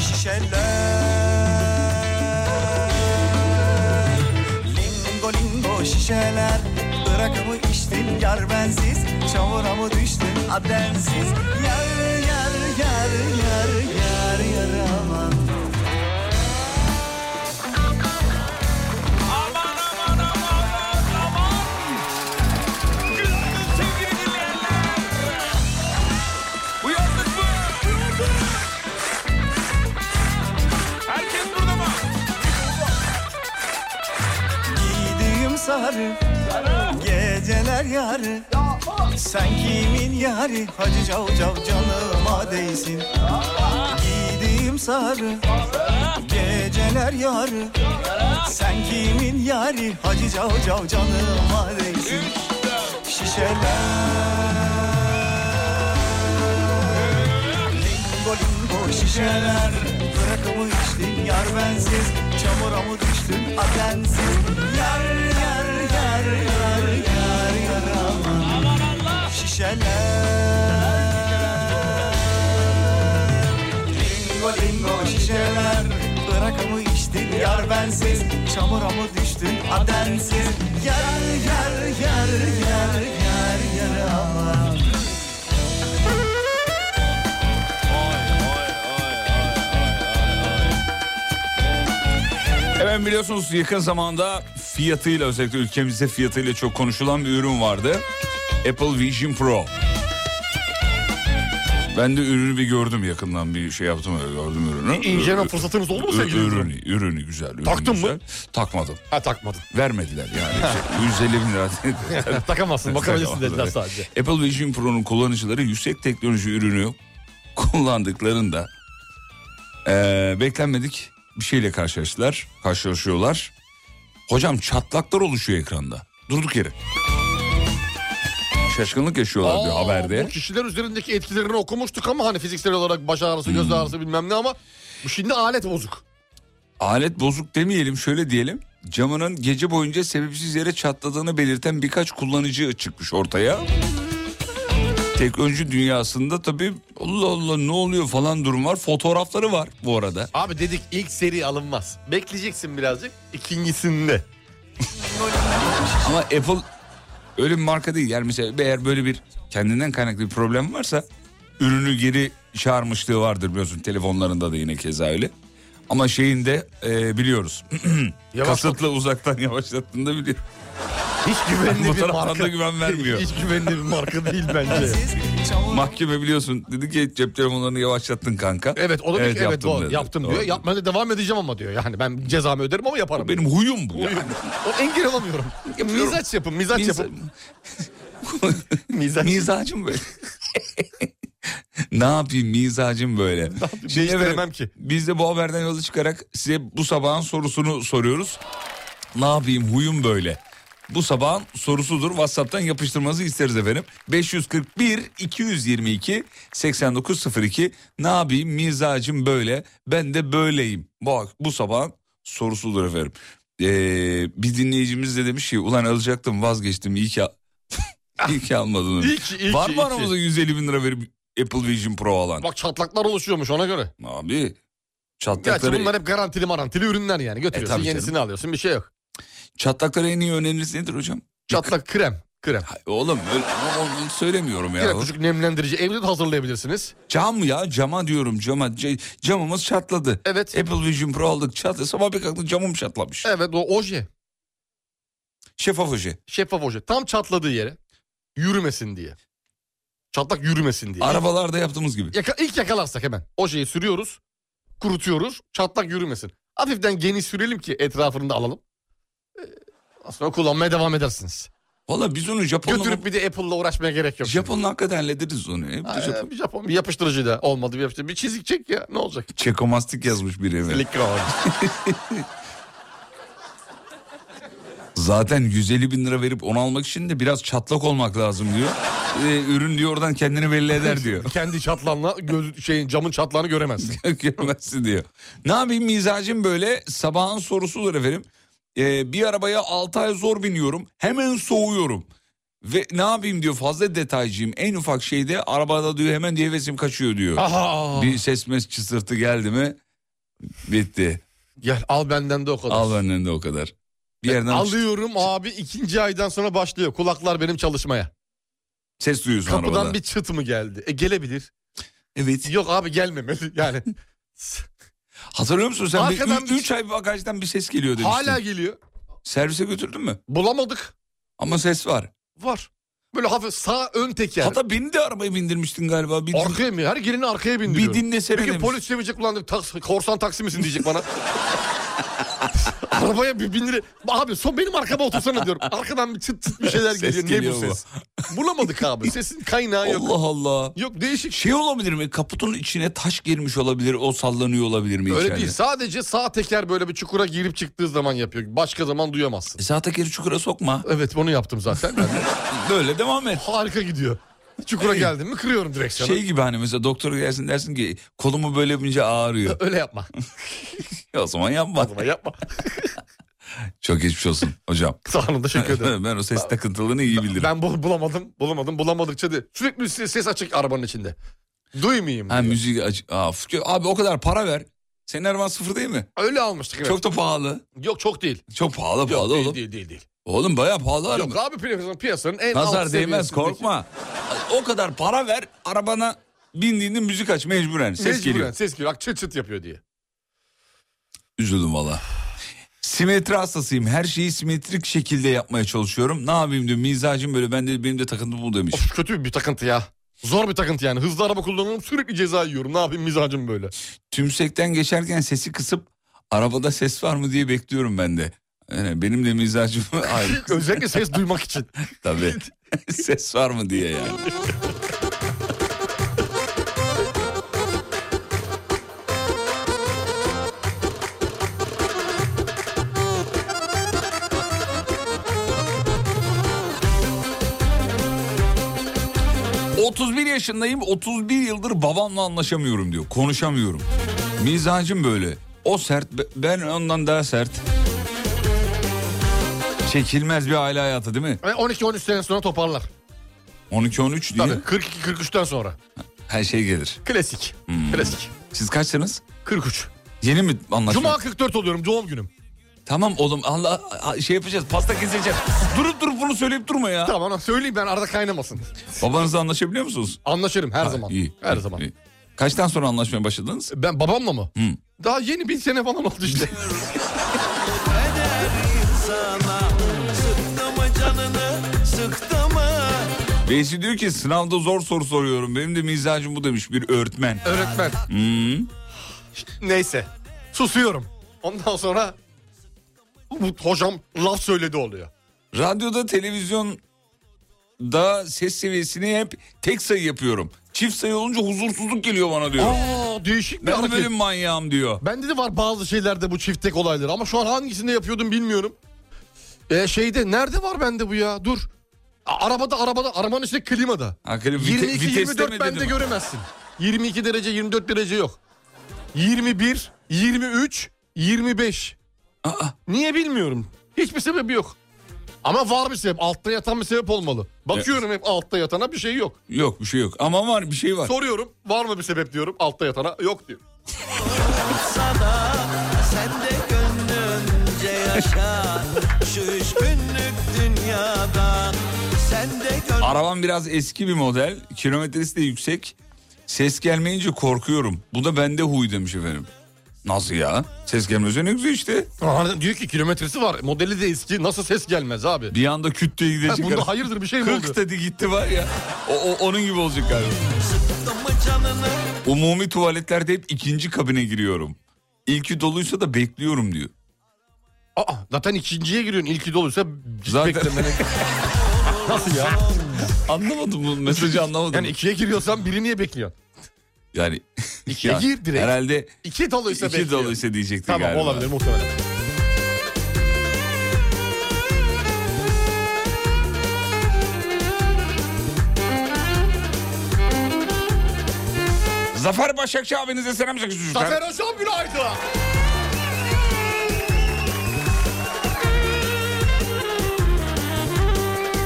Speaker 9: Şişeler Lingo lingo şişeler Irak'ımı içtin yar bensiz Çamura mı düştün adensiz Yar yar yar yar yar yar aman
Speaker 4: Aman aman aman aman. Günaydın sevgili dinleyenler. Uyandık mı? Herkes burada mı?
Speaker 9: Giydiğim sarı Geceler yarı Sen kimin yarı Hacı cav cav canıma değsin Giydiğim sarı Geceler yarı Sen kimin yarı Hacı cav cav canıma değsin Şişeler Lingo lingo şişeler Bırakımı içtin yar bensiz Çamura mı düştün adensiz Yar yar yar yar yar yar aman Şişeler Lingo lingo şişeler Bırakımı içtin yar bensiz Çamura mı düştün adensiz Yar yar yar yar yar yar aman
Speaker 4: Hemen biliyorsunuz yakın zamanda fiyatıyla özellikle ülkemizde fiyatıyla çok konuşulan bir ürün vardı. Apple Vision Pro. Ben de ürünü bir gördüm yakından bir şey yaptım öyle gördüm ürünü.
Speaker 5: İnceleme
Speaker 4: Ürün-
Speaker 5: fırsatınız oldu mu
Speaker 4: Ür-
Speaker 5: sevgili izleyiciler?
Speaker 4: Ürünü, ürünü güzel. Ürünü
Speaker 5: Taktın mı?
Speaker 4: güzel. Takmadım.
Speaker 5: Ha takmadın.
Speaker 4: Vermediler yani. İşte 150 bin lira.
Speaker 5: Takamazsın bakabilirsin dediler
Speaker 4: Takamadılar.
Speaker 5: sadece.
Speaker 4: Apple Vision Pro'nun kullanıcıları yüksek teknoloji ürünü kullandıklarında eee, beklenmedik bir şeyle karşılaştılar, karşılaşıyorlar. Hocam çatlaklar oluşuyor ekranda. Durduk yere. Şaşkınlık yaşıyorlar diyor
Speaker 5: Aa,
Speaker 4: haberde.
Speaker 5: Bu kişiler üzerindeki etkilerini okumuştuk ama hani fiziksel olarak baş ağrısı,
Speaker 4: Hmm.
Speaker 5: göz ağrısı bilmem ne ama bu şimdi alet bozuk.
Speaker 4: Alet bozuk demeyelim şöyle diyelim. Camının gece boyunca sebepsiz yere çatladığını belirten birkaç kullanıcı çıkmış ortaya. Teknoloji dünyasında tabii Allah Allah ne oluyor falan durum var. Fotoğrafları var bu arada.
Speaker 5: Abi dedik ilk seri alınmaz. Bekleyeceksin birazcık. İkincisinde.
Speaker 4: Ama Apple öyle bir marka değil. Yani mesela eğer böyle bir kendinden kaynaklı bir problem varsa ürünü geri çağırmışlığı vardır biliyorsun. Telefonlarında da yine keza öyle. Ama şeyinde e, biliyoruz. Kasıtlı uzaktan yavaşlattığında biliyoruz.
Speaker 5: Hiç güvenli
Speaker 4: Bu
Speaker 5: bir
Speaker 4: taraftan
Speaker 5: marka.
Speaker 4: da güven vermiyor.
Speaker 5: Hiç güvenli bir marka değil bence.
Speaker 9: Çamura
Speaker 4: Mahkeme biliyorsun dedi ki cep telefonlarını yavaşlattın kanka.
Speaker 5: evet o da evet, evet
Speaker 4: yaptım
Speaker 5: doğru,
Speaker 4: dedi.
Speaker 5: yaptım
Speaker 4: Doğru.
Speaker 5: diyor. Yapmaya da devam edeceğim ama diyor. Yani ben cezamı öderim ama yaparım.
Speaker 4: Benim huyum bu. yani.
Speaker 5: O engel olamıyorum.
Speaker 4: Yapıyorum.
Speaker 5: Mizaç yapın, mizaç
Speaker 4: Miza-
Speaker 5: yapın. Mizaç.
Speaker 4: mizacım böyle. ne yapayım mizacım böyle. Şimdi
Speaker 5: Değiştiremem
Speaker 4: efendim,
Speaker 5: ki.
Speaker 4: Biz de bu haberden yola çıkarak size bu sabahın sorusunu soruyoruz. Ne yapayım huyum böyle. Bu sabahın sorusudur. WhatsApp'tan yapıştırmanızı isteriz efendim. 541 222 8902 ne yapayım mizacım böyle ben de böyleyim. Bak bu sabahın sorusudur efendim. Ee, bir dinleyicimiz de demiş ki ulan alacaktım vazgeçtim iyi ki, al- iyi ki almadın.
Speaker 5: İyi ki, iyi
Speaker 4: Var
Speaker 5: ki,
Speaker 4: mı
Speaker 5: iyi ki.
Speaker 4: aramızda 150 bin lira verip Apple Vision Pro alan?
Speaker 5: Bak çatlaklar oluşuyormuş ona göre.
Speaker 4: Abi
Speaker 5: Gerçi
Speaker 4: çatlakları,
Speaker 5: bunlar hep garantili marantili ürünler yani. Götürüyorsun
Speaker 4: tabii canım.
Speaker 5: yenisini alıyorsun bir şey yok.
Speaker 4: çatlakları en iyi öneriniz nedir hocam?
Speaker 5: Çatlak krem. Krem.
Speaker 4: Hay- Oğlum öyle, ama onu söylemiyorum ya.
Speaker 5: Krem küçük nemlendirici evde de hazırlayabilirsiniz.
Speaker 4: Cam ya cama diyorum cama. C- camımız çatladı.
Speaker 5: Evet.
Speaker 4: Apple Vision Pro aldık çatladı. Sabah bir kalktım camım çatlamış.
Speaker 5: Evet o oje.
Speaker 4: Şeffaf oje.
Speaker 5: Şeffaf oje. Tam çatladığı yere. Yürümesin diye. Çatlak yürümesin diye.
Speaker 4: Arabalarda yaptığımız gibi.
Speaker 5: Yaka, ilk yakalarsak hemen ojeyi sürüyoruz. Kurutuyoruz. Çatlak yürümesin. Hafiften geniş sürelim ki etrafını da alalım. Ee, Sonra kullanmaya devam edersiniz.
Speaker 4: Valla biz onu Japon'la,
Speaker 5: Götürüp bir de Apple'la uğraşmaya gerek yok.
Speaker 4: Japon'la hakikaten hallederiz onu. Hep de
Speaker 5: Aa,
Speaker 4: Japon.
Speaker 5: bir Japon bir yapıştırıcı da olmadı bir yapıştırıcı. Bir çizik çek ya ne olacak?
Speaker 4: Çekomastik yazmış biri eve.
Speaker 5: Silikon.
Speaker 4: Zaten 150 bin lira verip onu almak için de biraz çatlak olmak lazım diyor. Ee, ürün diyor oradan kendini belli eder diyor.
Speaker 5: Kendi çatlanla göz, şeyin camın çatlağını göremezsin.
Speaker 4: Görmezsin diyor. Ne yapayım mizacım böyle sabahın sorusudur efendim. e, bir arabaya 6 ay zor biniyorum hemen soğuyorum. Ve ne yapayım diyor fazla detaycıyım en ufak şeyde arabada diyor hemen diye hevesim kaçıyor diyor.
Speaker 5: Aha.
Speaker 4: Bir ses mes çısırtı geldi mi bitti.
Speaker 5: Gel al benden de o kadar. E,
Speaker 4: Al benden de o kadar. Bir yerden
Speaker 5: Alıyorum abi ikinci aydan sonra başlıyor. Kulaklar benim çalışmaya.
Speaker 4: ses duyuyorsun
Speaker 5: Kapıdan
Speaker 4: arabada.
Speaker 5: bir çıt mı geldi? E gelebilir.
Speaker 4: Evet.
Speaker 5: Yok abi gelmemeli. Yani
Speaker 4: Hatırlıyor musun sen?
Speaker 5: Arkadan
Speaker 4: bir,
Speaker 5: bir-
Speaker 4: 3 ay bagajdan bir ses geliyor demiştin.
Speaker 5: hala geliyor.
Speaker 4: Servise götürdün mü?
Speaker 5: Bulamadık.
Speaker 4: Ama ses var.
Speaker 5: Var. Böyle hafif sağ ön teker.
Speaker 4: Hatta beni de arabaya bindirmiştin galiba. Bir,
Speaker 5: Arkaya mı? Her gelini arkaya
Speaker 4: bir
Speaker 5: bindiriyorum.
Speaker 4: dinlesene
Speaker 5: Bir gün
Speaker 4: demiş.
Speaker 5: polis demeyecek ulan taksi, korsan taksi misin diyecek bana. Arabaya bir bin lira. Abi son benim arkama otursana diyorum. Arkadan bir çıt çıt bir şeyler
Speaker 4: Ses
Speaker 5: geliyor.
Speaker 4: geliyor
Speaker 5: ne bu
Speaker 4: bu.
Speaker 5: ses? Bulamadık abi. Sesin kaynağı yok.
Speaker 4: Allah Allah.
Speaker 5: Yok değişik.
Speaker 4: Şey olabilir mi? Kaputun içine taş girmiş olabilir. O sallanıyor olabilir mi
Speaker 5: Öyle
Speaker 4: içeride?
Speaker 5: değil. Sadece sağ teker böyle bir çukura girip çıktığı zaman yapıyor. Başka zaman duyamazsın.
Speaker 4: E, Sağ tekeri çukura sokma.
Speaker 5: Evet bunu yaptım zaten. Ben de-
Speaker 4: Böyle devam et.
Speaker 5: Harika gidiyor. Çukura geldim mi kırıyorum direksiyonu.
Speaker 4: Şey gibi hani mesela doktora gelsin dersin ki kolumu böyle yapınca ağrıyor.
Speaker 5: Öyle yapma.
Speaker 4: Ya o zaman yapma.
Speaker 5: Yapma, yapma.
Speaker 4: Çok geçmiş olsun hocam.
Speaker 5: Sağ olun teşekkür ederim.
Speaker 4: ben o ses takıntılığını iyi bilirim.
Speaker 5: Ben bu- bulamadım, bulamadım, bulamadıkça de sürekli ses ses açık arabanın içinde. Duymayayım.
Speaker 4: Ha
Speaker 5: diyor.
Speaker 4: müzik aç. Aa, f- abi o kadar para ver. Senin araban sıfır değil mi?
Speaker 5: Öyle almıştık. Evet.
Speaker 4: Çok da pahalı.
Speaker 5: Yok çok değil.
Speaker 4: Çok pahalı
Speaker 5: Yok
Speaker 4: pahalı
Speaker 5: değil,
Speaker 4: oğlum.
Speaker 5: değil değil değil.
Speaker 4: Oğlum bayağı pahalı araba.
Speaker 5: Yok abi piyasanın, piyasanın en alt
Speaker 4: Nazar değmez
Speaker 5: seviyesindeki-
Speaker 4: korkma. O kadar para ver arabana bindiğinde müzik aç mecburen. Ses
Speaker 5: Mecburen,
Speaker 4: geliyor.
Speaker 5: Ses geliyor. Bak çıt çıt yapıyor diye.
Speaker 4: Üzüldüm valla. Simetri hastasıyım. Her şeyi simetrik şekilde yapmaya çalışıyorum. Ne yapayım diyor. Mizacım böyle. Ben de, benim de takıntım bu demiş.
Speaker 5: Of kötü bir takıntı ya. Zor bir takıntı yani. Hızlı araba kullanıyorum sürekli ceza yiyorum. Ne yapayım mizacım böyle.
Speaker 4: Tümsekten geçerken sesi kısıp arabada ses var mı diye bekliyorum ben de. Yani benim de mizacım ayrı.
Speaker 5: Özellikle ses duymak için.
Speaker 4: Tabii. Ses var mı diye yani. ...31 yaşındayım... ...31 yıldır babamla anlaşamıyorum diyor... ...konuşamıyorum... ...mizacım böyle... ...o sert... be- ...ben ondan daha sert... ...çekilmez bir aile hayatı değil mi?
Speaker 5: E, 12-13 sene sonra toparlar.
Speaker 4: 12-13 diye
Speaker 5: Tabii 42-43'ten sonra.
Speaker 4: her şey gelir. Hmm.
Speaker 5: Klasik. Klasik.
Speaker 4: Siz kaçsınız?
Speaker 5: 43.
Speaker 4: Yeni mi anlaşma?
Speaker 5: Cuma 44 oluyorum doğum günüm.
Speaker 4: Tamam oğlum Allah a- şey yapacağız pasta keseceğiz. durup durup bunu söyleyip durma ya.
Speaker 5: Tamam ona söyleyeyim ben arada kaynamasın.
Speaker 4: Babanızla anlaşabiliyor musunuz?
Speaker 5: Anlaşırım her zaman.
Speaker 4: İyi.
Speaker 5: Her
Speaker 4: iyi,
Speaker 5: zaman.
Speaker 4: iyi. Kaçtan sonra anlaşmaya başladınız?
Speaker 5: Ben babamla mı?
Speaker 4: Hı.
Speaker 5: Daha yeni bir sene falan oldu işte.
Speaker 4: Veysi diyor ki sınavda zor soru soruyorum. Benim de mizacım bu demiş bir öğretmen.
Speaker 5: Öğretmen.
Speaker 4: Hmm.
Speaker 5: Neyse. Susuyorum. Ondan sonra bu hocam laf söyledi oluyor.
Speaker 4: Radyoda televizyon da ses seviyesini hep tek sayı yapıyorum. Çift sayı olunca huzursuzluk geliyor bana diyor.
Speaker 5: Aa değişik bir
Speaker 4: ben de
Speaker 5: hareket.
Speaker 4: böyle manyağım diyor.
Speaker 5: Bende de var bazı şeylerde bu çiftek olayları ama şu an hangisinde yapıyordum bilmiyorum. E şeyde nerede var bende bu ya? Dur. A- Arabada arabada arabanın içinde klimada.
Speaker 4: Hakikaten vite-
Speaker 5: 22
Speaker 4: viteste
Speaker 5: 24
Speaker 4: mi
Speaker 5: bende
Speaker 4: dedim?
Speaker 5: göremezsin. 22 derece 24 derece yok. 21, 23, 25.
Speaker 4: Aa.
Speaker 5: Niye bilmiyorum. Hiçbir sebebi yok. Ama var bir sebep. Altta yatan bir sebep olmalı. Bakıyorum hep altta yatana bir şey yok.
Speaker 4: Yok bir şey yok ama var bir şey var.
Speaker 5: Soruyorum var mı bir sebep diyorum. Altta yatana yok diyor.
Speaker 9: Sen de gönlünce yaşa Şu üç günlük dünyada Sen de gönlünce
Speaker 4: Arabam biraz eski bir model. Kilometresi de yüksek. Ses gelmeyince korkuyorum. Bu da bende huy demiş efendim. Nasıl ya? Ses gelmezse ne güzel işte.
Speaker 5: Aa, hani diyor ki kilometresi var. Modeli de eski. Nasıl ses gelmez abi?
Speaker 4: Bir anda küt diye
Speaker 5: Ha,
Speaker 4: gidecek.
Speaker 5: bunda hayırdır bir şey mi oldu?
Speaker 4: 40 dedi gitti var ya. O, o- onun gibi olacak galiba. Umumi tuvaletlerde hep ikinci kabine giriyorum. İlki doluysa da bekliyorum diyor.
Speaker 5: Aa, zaten ikinciye giriyorsun. İlki doluysa
Speaker 4: Zaten-
Speaker 5: zaten... Nasıl ya?
Speaker 4: Anlamadım bu mesajı anlamadım.
Speaker 5: Yani
Speaker 4: Yani,
Speaker 5: ikiye giriyorsan biri niye bekliyorsun? İkiye
Speaker 4: Ya,
Speaker 5: gir direkt.
Speaker 4: herhalde
Speaker 5: İki doluysa
Speaker 4: iki
Speaker 5: bekliyor.
Speaker 4: doluysa diyecekti
Speaker 5: Tamam
Speaker 4: galiba.
Speaker 5: olabilir muhtemelen.
Speaker 4: Zafer Başakçı abinize selam çakıyorsunuz.
Speaker 5: Zafer Hocam günaydın.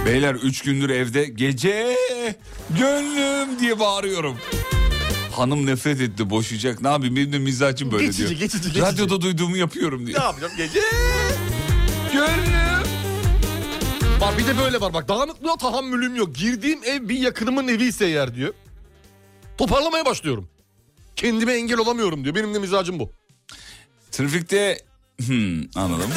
Speaker 4: Beyler 3 gündür evde gece gönlüm diye bağırıyorum. Hanım nefret etti boşayacak. Ne yapayım benim de mizacım böyle
Speaker 5: Geçici,
Speaker 4: diyor.
Speaker 5: geçici, geçici.
Speaker 4: Radyoda duyduğumu yapıyorum diyor.
Speaker 5: Ne yapacağım gece? Gönlüm. Bak bir de böyle var bak dağınıklığa tahammülüm yok. Girdiğim ev bir yakınımın evi ise yer diyor. Toparlamaya başlıyorum. Kendime engel olamıyorum diyor. Benim de mizacım bu.
Speaker 4: Trafikte hmm, anladım.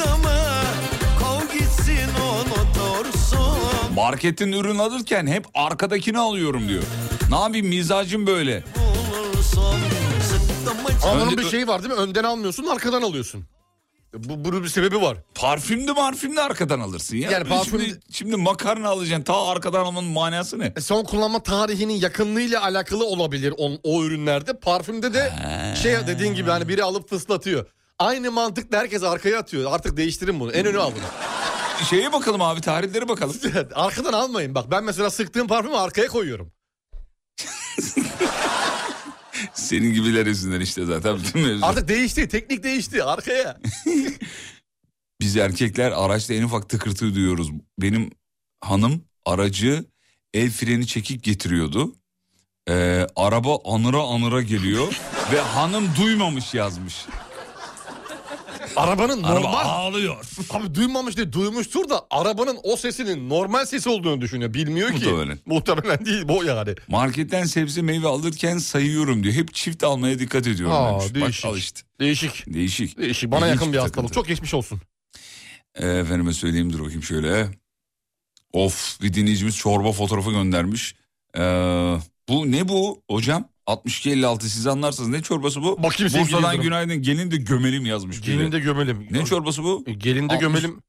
Speaker 9: Kov gitsin onu dursun
Speaker 4: Marketten ürün alırken hep arkadakini alıyorum diyor. Ne yapayım mizacım böyle.
Speaker 9: bulursun Sıktım mı
Speaker 5: Ama bunun
Speaker 4: Önce-
Speaker 5: bir şeyi var değil mi? Önden almıyorsun arkadan alıyorsun. E, Bu, bunun bir sebebi var.
Speaker 4: Parfüm de marfüm de arkadan alırsın ya.
Speaker 5: Yani parfüm-
Speaker 4: şimdi, şimdi makarna alacaksın ta arkadan almanın manası ne?
Speaker 5: E, Son kullanma tarihinin yakınlığıyla alakalı olabilir on, o ürünlerde. Parfümde de şey dediğin gibi hani biri alıp fıslatıyor. Aynı mantıkla herkes arkaya atıyor. Artık değiştirin bunu. En öne al bunu.
Speaker 4: Şeye bakalım abi tarihlere bakalım.
Speaker 5: Arkadan almayın. Bak ben mesela sıktığım parfümü arkaya koyuyorum.
Speaker 4: Senin gibiler yüzünden işte zaten bütün mevzu.
Speaker 5: Artık değişti. Teknik değişti. Arkaya.
Speaker 4: Biz erkekler araçta en ufak tıkırtı duyuyoruz. Benim hanım aracı el freni çekik getiriyordu. Ee, araba anıra anıra geliyor ve hanım duymamış yazmış.
Speaker 5: Arabanın
Speaker 4: Araba
Speaker 5: normal...
Speaker 4: ağlıyor.
Speaker 5: Abi duymamış değil duymuştur da arabanın o sesinin normal sesi olduğunu düşünüyor. Bilmiyor ki.
Speaker 4: Muhtemelen.
Speaker 5: Muhtemelen değil bu yani.
Speaker 4: Marketten sebze meyve alırken sayıyorum diyor. Hep çift almaya dikkat ediyorum
Speaker 5: Aa,
Speaker 4: demiş.
Speaker 5: değişik.
Speaker 4: Bak al işte.
Speaker 5: Değişik.
Speaker 4: Değişik.
Speaker 5: Değişik. Bana
Speaker 4: İlginç
Speaker 5: yakın bir
Speaker 4: takıntı.
Speaker 5: hastalık. Çok geçmiş olsun.
Speaker 4: Ee, efendime söyleyeyim dur bakayım şöyle. Of bir dinleyicimiz çorba fotoğrafı göndermiş. Ee, bu ne bu hocam? 6256 siz anlarsınız ne çorbası bu?
Speaker 5: Bakayım sevgili
Speaker 4: Bursa'dan
Speaker 5: Yıldırım.
Speaker 4: günaydın gelin de gömelim yazmış. biri.
Speaker 5: Gelinde gömelim.
Speaker 4: Ne çorbası bu?
Speaker 5: E, Gelinde
Speaker 4: Altmış-
Speaker 5: gömelim.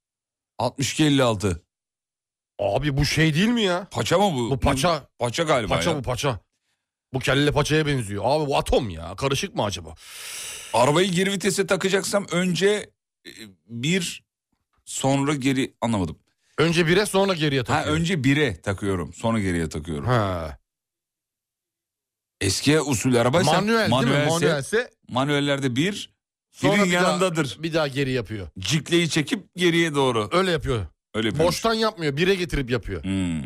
Speaker 4: 6256.
Speaker 5: Abi bu şey değil mi ya?
Speaker 4: Paça mı bu?
Speaker 5: Bu paça.
Speaker 4: Paça galiba
Speaker 5: Paça
Speaker 4: ya.
Speaker 5: bu paça. Bu kelle paçaya benziyor. Abi bu atom ya. Karışık mı acaba?
Speaker 4: Arabayı geri vitese takacaksam önce e, bir sonra geri anlamadım.
Speaker 5: Önce bire sonra geriye
Speaker 4: Ha
Speaker 5: takıyor.
Speaker 4: önce bire takıyorum sonra geriye takıyorum.
Speaker 5: Ha.
Speaker 4: Eski usul arabaysa
Speaker 5: Manuel, değil mi?
Speaker 4: manuelse-
Speaker 5: Manuelse.
Speaker 4: manuellerde bir
Speaker 5: Sonra
Speaker 4: birin
Speaker 5: bir
Speaker 4: yanındadır.
Speaker 5: Daha, bir daha geri yapıyor.
Speaker 4: Cikleyi çekip geriye doğru.
Speaker 5: Öyle yapıyor.
Speaker 4: Öyle yapıyormuş.
Speaker 5: Boştan yapmıyor. Bire getirip yapıyor.
Speaker 4: Hmm.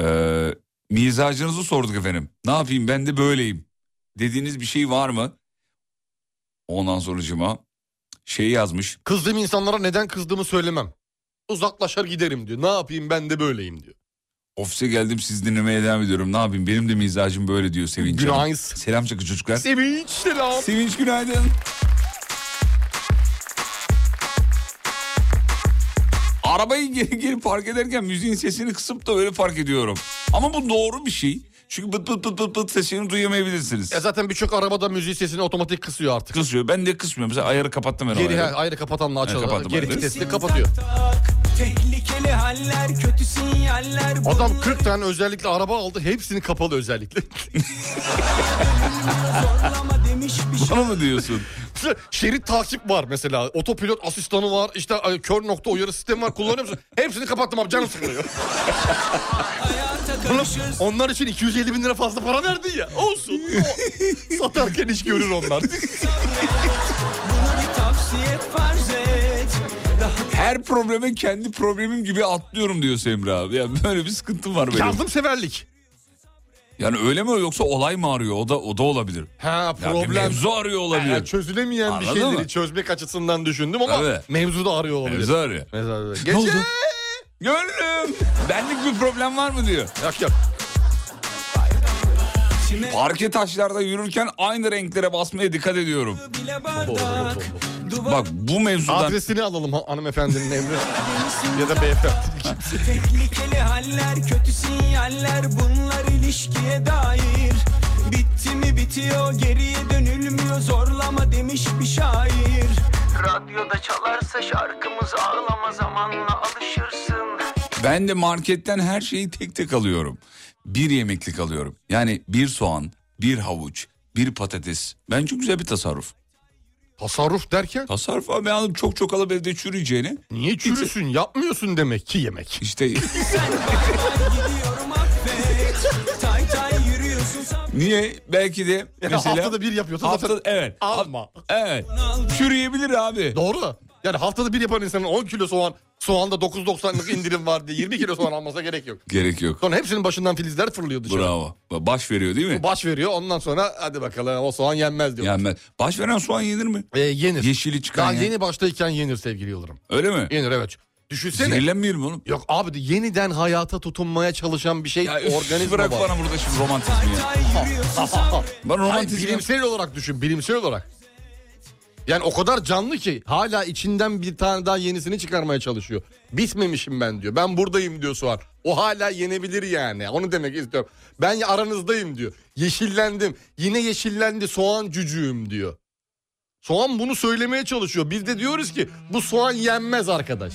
Speaker 4: Ee, mizacınızı sorduk efendim. Ne yapayım ben de böyleyim. Dediğiniz bir şey var mı? Ondan sonucuma şey yazmış.
Speaker 5: Kızdığım insanlara neden kızdığımı söylemem. Uzaklaşar giderim diyor. Ne yapayım ben de böyleyim diyor.
Speaker 4: Ofise geldim siz dinlemeye devam ediyorum. Ne yapayım benim de mizacım böyle diyor Sevinç Hanım.
Speaker 5: Günaydın.
Speaker 4: Selam çakı çocuklar.
Speaker 5: Sevinç selam.
Speaker 4: Sevinç günaydın. Arabayı geri geri park ederken müziğin sesini kısıp da öyle park ediyorum. Ama bu doğru bir şey. Çünkü bıt bıt bıt bıt, bıt sesini duyamayabilirsiniz.
Speaker 5: E zaten birçok arabada müziği sesini otomatik kısıyor artık.
Speaker 4: Kısıyor. Ben de kısmıyorum. Mesela ayarı kapattım ben o
Speaker 5: Geri
Speaker 4: ayarı.
Speaker 5: ha, ayrı kapatanla
Speaker 4: Evet,
Speaker 5: açalım.
Speaker 4: kapattım
Speaker 5: Geri
Speaker 4: ben de.
Speaker 5: vitesle kapatıyor.
Speaker 2: Tehlikeli haller, kötü sinyaller
Speaker 5: Adam 40 tane özellikle araba aldı. Hepsini kapalı özellikle.
Speaker 2: Zorlama demiş bir şey.
Speaker 4: Bana mı diyorsun?
Speaker 5: Mesela Şerit takip var mesela. Otopilot asistanı var. İşte e, kör nokta uyarı sistemi var. Kullanıyor musun? Hepsini kapattım abi canım sıkılıyor. Ulan onlar için 250 bin lira fazla para verdin ya. Olsun. O- Satarken iş görür onlar.
Speaker 2: bir tavsiye farz et
Speaker 4: Her probleme kendi problemim gibi atlıyorum diyor Semra abi. Yani böyle bir sıkıntım var benim.
Speaker 5: Yardımseverlik.
Speaker 4: Yani öyle mi yoksa olay mı arıyor? O da o da olabilir.
Speaker 5: Ha
Speaker 4: Yani bir
Speaker 5: problem.
Speaker 4: mevzu arıyor olabilir.
Speaker 5: Ha, çözülemeyen bir
Speaker 4: Anladın
Speaker 5: şeyleri
Speaker 4: mı?
Speaker 5: çözmek açısından düşündüm ama
Speaker 4: Tabii.
Speaker 5: mevzu da arıyor olabilir.
Speaker 4: mevzu arıyor.
Speaker 5: Mevzu.
Speaker 4: Ne
Speaker 5: Gece.
Speaker 4: oldu? Gönlüm. Benlik bir problem var mı diyor.
Speaker 5: Yok yok.
Speaker 4: Parke taşlarda yürürken aynı renklere basmaya dikkat ediyorum.
Speaker 2: bile bardak
Speaker 4: Bak bu mevzudan
Speaker 5: Adresini alalım ha- hanımefendinin emri. ya da beyefendi.
Speaker 2: Tehlikeli haller, kötü sinyaller bunlar ilişkiye dair Bitti mi bitiyor, geriye dönülmüyor zorlama demiş bir şair Radyoda çalarsa şarkımız ağlama zamanla alışırsın
Speaker 4: ben de marketten her şeyi tek tek alıyorum. Bir yemeklik alıyorum. Yani bir soğan, bir havuç, bir patates. Bence güzel bir tasarruf.
Speaker 5: Tasarruf derken
Speaker 4: Tasarruf abi hanım çok çok alıp evde çürüyeceğini
Speaker 5: niye çürüsün yapmıyorsun demek ki yemek.
Speaker 4: işte
Speaker 2: Gidiyorum affet, tay tay yürüyorsun
Speaker 4: niye belki de mesela
Speaker 5: haftada bir yapıyorsa
Speaker 4: hafta,
Speaker 5: zaten
Speaker 4: evet
Speaker 5: alma.
Speaker 4: evet çürüyebilir abi.
Speaker 5: Doğru. Yani haftada bir yapan insanın 10 kilo soğan, soğanda 9.90'lık indirim var diye 20 kilo soğan almasına gerek yok.
Speaker 4: Gerek yok.
Speaker 5: Sonra hepsinin başından filizler fırlıyor dışarı.
Speaker 4: Bravo. Baş veriyor değil mi?
Speaker 5: Baş veriyor ondan sonra hadi bakalım o soğan yenmez diyor.
Speaker 4: Yani ben- baş veren soğan yenir mi?
Speaker 5: Ee, yenir.
Speaker 4: Yeşili çıkan
Speaker 5: Daha
Speaker 4: ya.
Speaker 5: yeni baştayken yenir sevgili Yıldırım.
Speaker 4: Öyle mi?
Speaker 5: Yenir evet. Düşünsene.
Speaker 4: Sinirlenmiyor mu oğlum?
Speaker 5: Yok abi de yeniden hayata tutunmaya çalışan bir şey
Speaker 4: Ya üf,
Speaker 5: organizma
Speaker 4: bırak
Speaker 5: var.
Speaker 4: bana burada şimdi romantizmi ya. Ben
Speaker 5: Hayır,
Speaker 4: romantizmi...
Speaker 5: bilimsel olarak düşün, bilimsel olarak. Yani o kadar canlı ki hala içinden bir tane daha yenisini çıkarmaya çalışıyor. Bitmemişim ben diyor. Ben buradayım diyor Suat. O hala yenebilir yani. Onu demek istiyorum. Ben aranızdayım diyor. Yeşillendim. Yine yeşillendi soğan cücüğüm diyor. Soğan bunu söylemeye çalışıyor. Biz de diyoruz ki bu soğan yenmez arkadaş.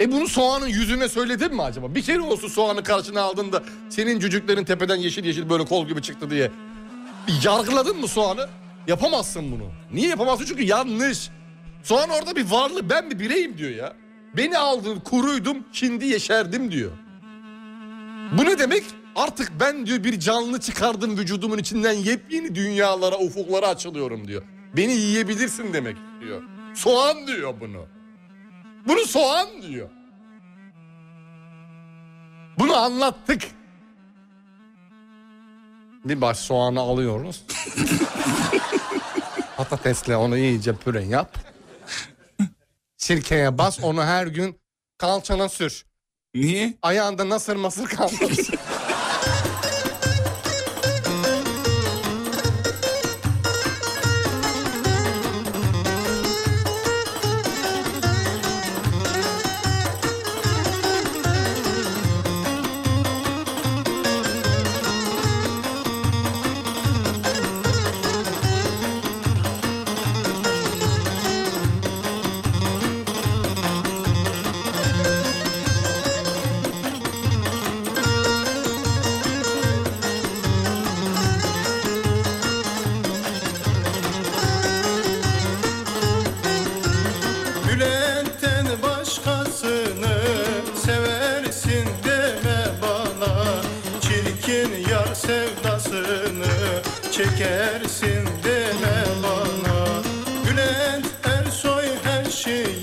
Speaker 5: E bunu soğanın yüzüne söyledin mi acaba? Bir kere olsun soğanı karşına aldığında senin cücüklerin tepeden yeşil yeşil böyle kol gibi çıktı diye Yargıladın mı soğanı? Yapamazsın bunu. Niye yapamazsın? Çünkü yanlış. Soğan orada bir varlık. Ben bir bireyim diyor ya. Beni aldın kuruydum şimdi yeşerdim diyor. Bu ne demek? Artık ben diyor bir canlı çıkardım vücudumun içinden yepyeni dünyalara ufuklara açılıyorum diyor. Beni yiyebilirsin demek diyor. Soğan diyor bunu. Bunu soğan diyor. Bunu anlattık. Bir baş soğanı alıyoruz. Patatesle onu iyice püre yap. Sirkeye bas onu her gün kalçana sür.
Speaker 4: Niye?
Speaker 5: Ayağında nasır masır kalmasın.
Speaker 10: Bülent'ten başkasını seversin deme bana Çirkin yar sevdasını çekersin deme bana Bülent Ersoy her şeyim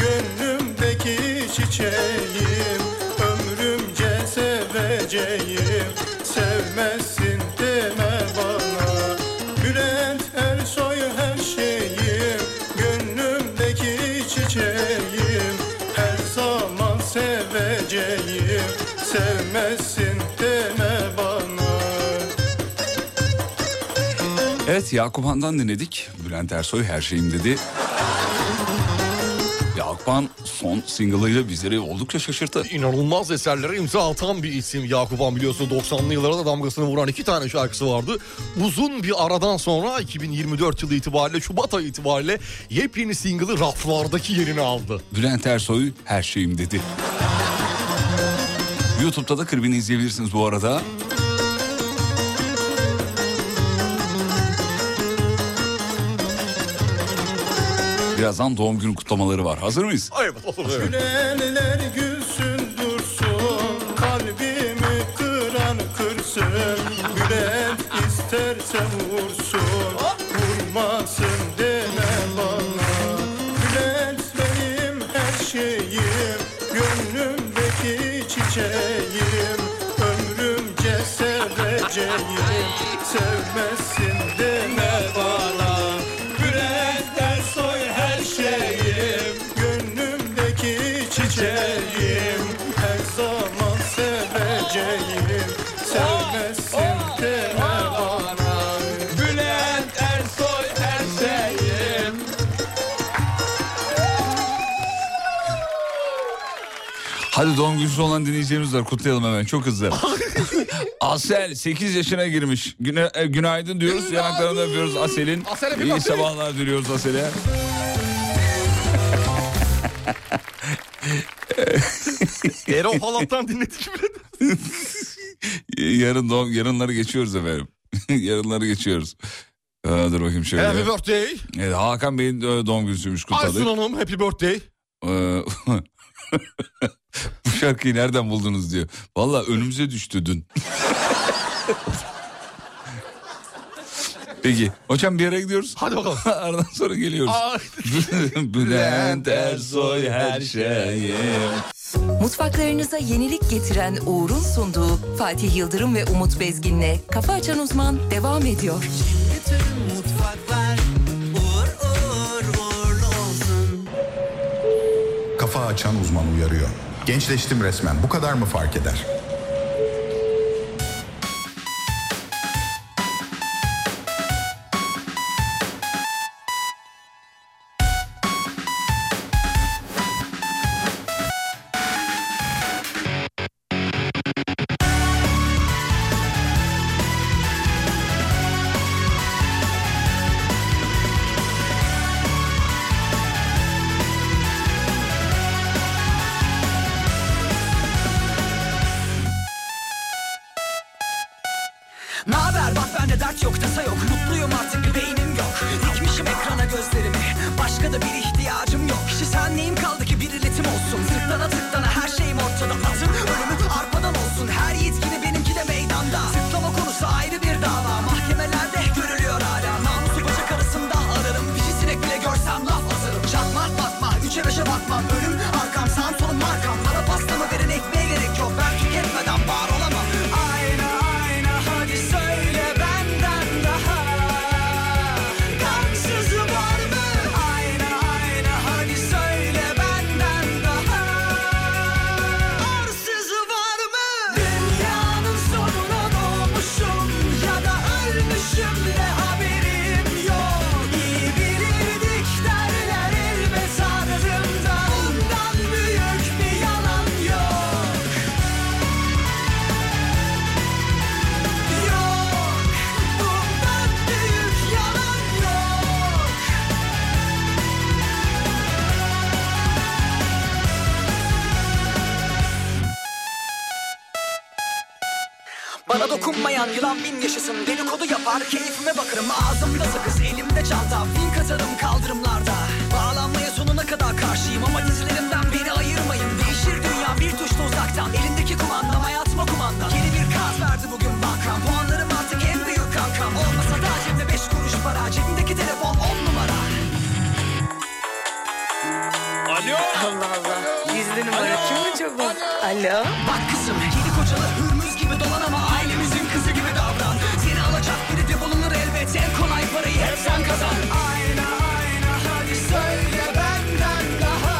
Speaker 10: gönlümdeki çiçeğim Ömrümce seveceğim sevmezsin deme bana Bülent Ersoy her şeyim Gönlümdeki çiçeğim Her zaman seveceğim Sevmezsin deme bana
Speaker 4: Evet Yakup Han'dan dinledik. Bülent Ersoy her şeyim dedi. Yakup Han son single'ıyla bizleri oldukça şaşırttı.
Speaker 5: İnanılmaz eserlere imza atan bir isim Yakup Han biliyorsunuz 90'lı yıllara da damgasını vuran iki tane şarkısı vardı. Uzun bir aradan sonra 2024 yılı itibariyle Şubat ayı itibariyle yepyeni single'ı raflardaki yerini aldı.
Speaker 4: Bülent Ersoy her şeyim dedi. YouTube'da da klibini izleyebilirsiniz bu arada. Birazdan doğum günü kutlamaları var. Hazır mıyız?
Speaker 5: Evet, evet.
Speaker 10: Gülenler gülsün dursun Kalbimi kıran kırsın Gülen isterse vursun Vurmasın deme bana Gülen benim her şeyim Gönlümdeki çiçeğim Ömrümce seveceğim Sevmezsin deme bana Gülen Ersoy her şeyim Gönlümdeki çiçeğim Her zaman seveceğim Sevmezsin deme bana Bülent Ersoy her şey. şeyim
Speaker 4: Hadi doğum günü olan dinleyicilerimiz var. Kutlayalım hemen çok hızlı. Asel 8 yaşına girmiş. Güne, e, günaydın diyoruz. Yanaklarını öpüyoruz Asel'in.
Speaker 5: Asel öpeyim,
Speaker 4: İyi
Speaker 5: Asel.
Speaker 4: sabahlar diliyoruz Asel'e.
Speaker 5: Erol Halat'tan dinledik mi?
Speaker 4: Yarın doğum, yarınları geçiyoruz efendim. yarınları geçiyoruz. Ee, dur bakayım şöyle.
Speaker 5: Happy birthday.
Speaker 4: Evet, Hakan Bey'in de doğum günüymüş
Speaker 5: Aysun
Speaker 4: kutladık.
Speaker 5: Hanım happy birthday.
Speaker 4: Ee, Bu şarkıyı nereden buldunuz diyor. Valla önümüze düştü dün. Peki. Hocam bir yere gidiyoruz.
Speaker 5: Hadi bakalım.
Speaker 4: Aradan sonra geliyoruz.
Speaker 5: Aa,
Speaker 4: Bülent Ersoy her şeyim.
Speaker 1: Mutfaklarınıza yenilik getiren Uğur'un sunduğu Fatih Yıldırım ve Umut Bezgin'le Kafa Açan Uzman devam ediyor.
Speaker 2: Kafa açan uzman uyarıyor. Gençleştim resmen. Bu kadar mı fark eder?
Speaker 11: Naber bak bende dert yok tasa yok Mutluyum artık bir beynim yok Dikmişim ekrana gözlerimi Başka da bir ihtiyacım yok Kişisel neyim kaldı ki bir iletim olsun Tıklana tıklana her şeyim ortada Atın ölümü arpadan olsun Her yiğit gibi benimki de meydanda Tıklama konusu ayrı bir dava Mahkemelerde görülüyor hala Namusu bacak arasında ararım Dişi sinek bile görsem laf asarım Çatmak batma üçe beşe bakmam Ölüm arkam sağım solum markam Bana pasta mı veren ekmeğe gerek yok Ben tüketmeden var olamam Ayna ayna hadi söyle benden daha Kansızı var mı? Ayna ayna hadi söyle benden daha Arsızı var mı? Dünyanın sonuna doğmuşum ya da ölmüşüm de haberim yok. İyi bilirdik derler elbet ardımda bundan büyük bir yalan yok. Yok, bundan büyük yalan yok. Bana dokunmayan yılan bin yaşasın Dedikodu yapar keyfime bakarım Ağzımda sakız elimde çanta Fink atarım kaldırımlarda Bağlanmaya sonuna kadar karşıyım Ama dizilerimden beni ayırmayın Değişir dünya bir tuşla uzaktan Elindeki kumandam hayatıma kumandan Yeni bir kaz verdi bugün bankam Puanlarım artık en büyük kankam Olmasa da cebimde beş kuruş para Cebimdeki telefon on numara
Speaker 4: Alo.
Speaker 12: Allah Allah. Gizli numara kim acaba? Alo.
Speaker 11: Bak kızım yedi kocalı hürmüz gibi dolan ama ailemizin kızı gibi davran Seni alacak biri de bulunur elbet en kolay parayı hep sen kazan Ayna ayna hadi söyle benden daha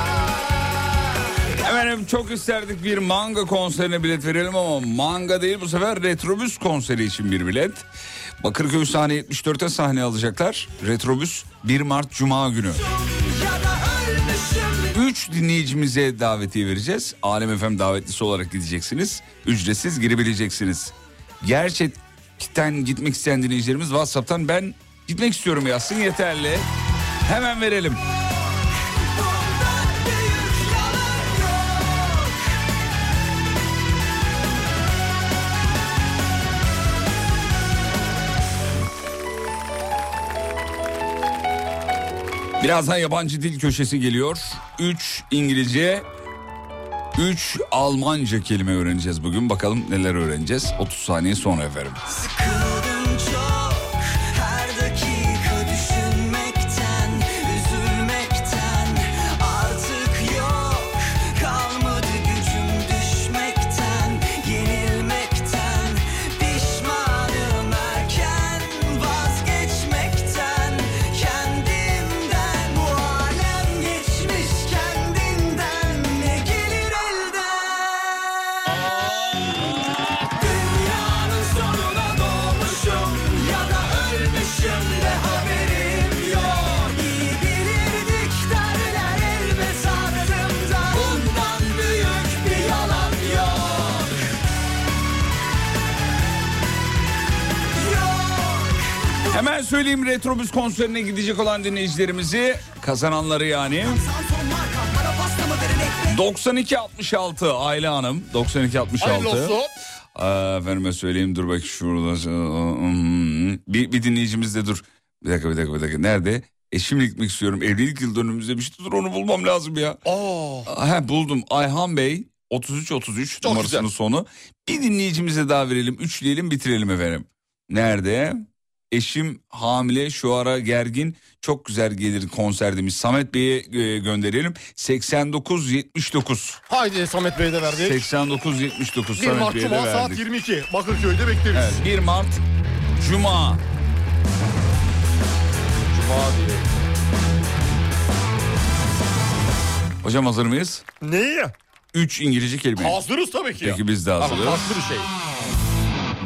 Speaker 4: Efendim çok isterdik bir manga konserine bilet verelim ama manga değil bu sefer Retrobüs konseri için bir bilet. Bakırköy sahne 74'e sahne alacaklar. Retrobüs 1 Mart Cuma günü.
Speaker 11: Ya da ölmüşüm
Speaker 4: 3 dinleyicimize davetiye vereceğiz. Alem FM davetlisi olarak gideceksiniz. Ücretsiz girebileceksiniz. Gerçekten gitmek isteyen dinleyicilerimiz WhatsApp'tan ben gitmek istiyorum yazsın yeterli. Hemen verelim.
Speaker 11: bundan büyük yalan yok
Speaker 4: Birazdan yabancı dil köşesi geliyor. 3 İngilizce, 3 Almanca kelime öğreneceğiz bugün. Bakalım neler öğreneceğiz. 30 saniye sonra efendim.
Speaker 11: Sıkıldım çok her dakika düşünmekten, üzülmekten Artık yok kalmadı gücüm düşmekten, yenilmekten Pişmanım erken vazgeçmekten, kendimden Bu alem geçmiş kendinden, ne gelir elden? Dünyanın sonuna doğmuşum ya da ölmüşüm de haberim yok. İyi bilirdik derler elbet ardımda bundan büyük bir yalan yok. Yok.
Speaker 4: Hemen söyleyeyim Retrobüs konserine gidecek olan dinleyicilerimizi, kazananları yani.
Speaker 11: Samsun marka para pasta mı verin ekmek?
Speaker 4: 9266 Ayla Hanım, 9266.
Speaker 5: hayırlı olsun.
Speaker 4: Aa, efendime söyleyeyim dur bak şurada. Bir, bir dinleyicimiz de dur. Bir dakika bir dakika bir dakika. Nerede? Eşimle gitmek istiyorum. Evlilik yıl dönümümüzde bir şey dur onu bulmam lazım ya.
Speaker 5: Aa,
Speaker 4: He buldum. Ayhan Bey 3333
Speaker 5: Çok
Speaker 4: numarasının
Speaker 5: güzel.
Speaker 4: sonu. Bir dinleyicimize daha verelim. Üçleyelim bitirelim efendim. Nerede? Eşim hamile şu ara gergin çok güzel gelir konser demiş. Samet Bey'e e, gönderelim. 89-79.
Speaker 5: Haydi Samet Bey'e de verdik.
Speaker 4: 89-79
Speaker 5: 1 Mart
Speaker 4: Şey, Samet Bey'e de
Speaker 5: Cuma saat
Speaker 4: verdik.
Speaker 5: 22. Bakırköy'de bekleriz.
Speaker 4: Evet, 1 Mart Cuma.
Speaker 5: Cuma diye.
Speaker 4: Hocam hazır mıyız?
Speaker 5: Neyi?
Speaker 4: 3 İngilizce kelime.
Speaker 5: Hazırız tabii ki.
Speaker 4: Peki biz de
Speaker 5: Ama
Speaker 4: hazırız.
Speaker 5: farklı bir şey.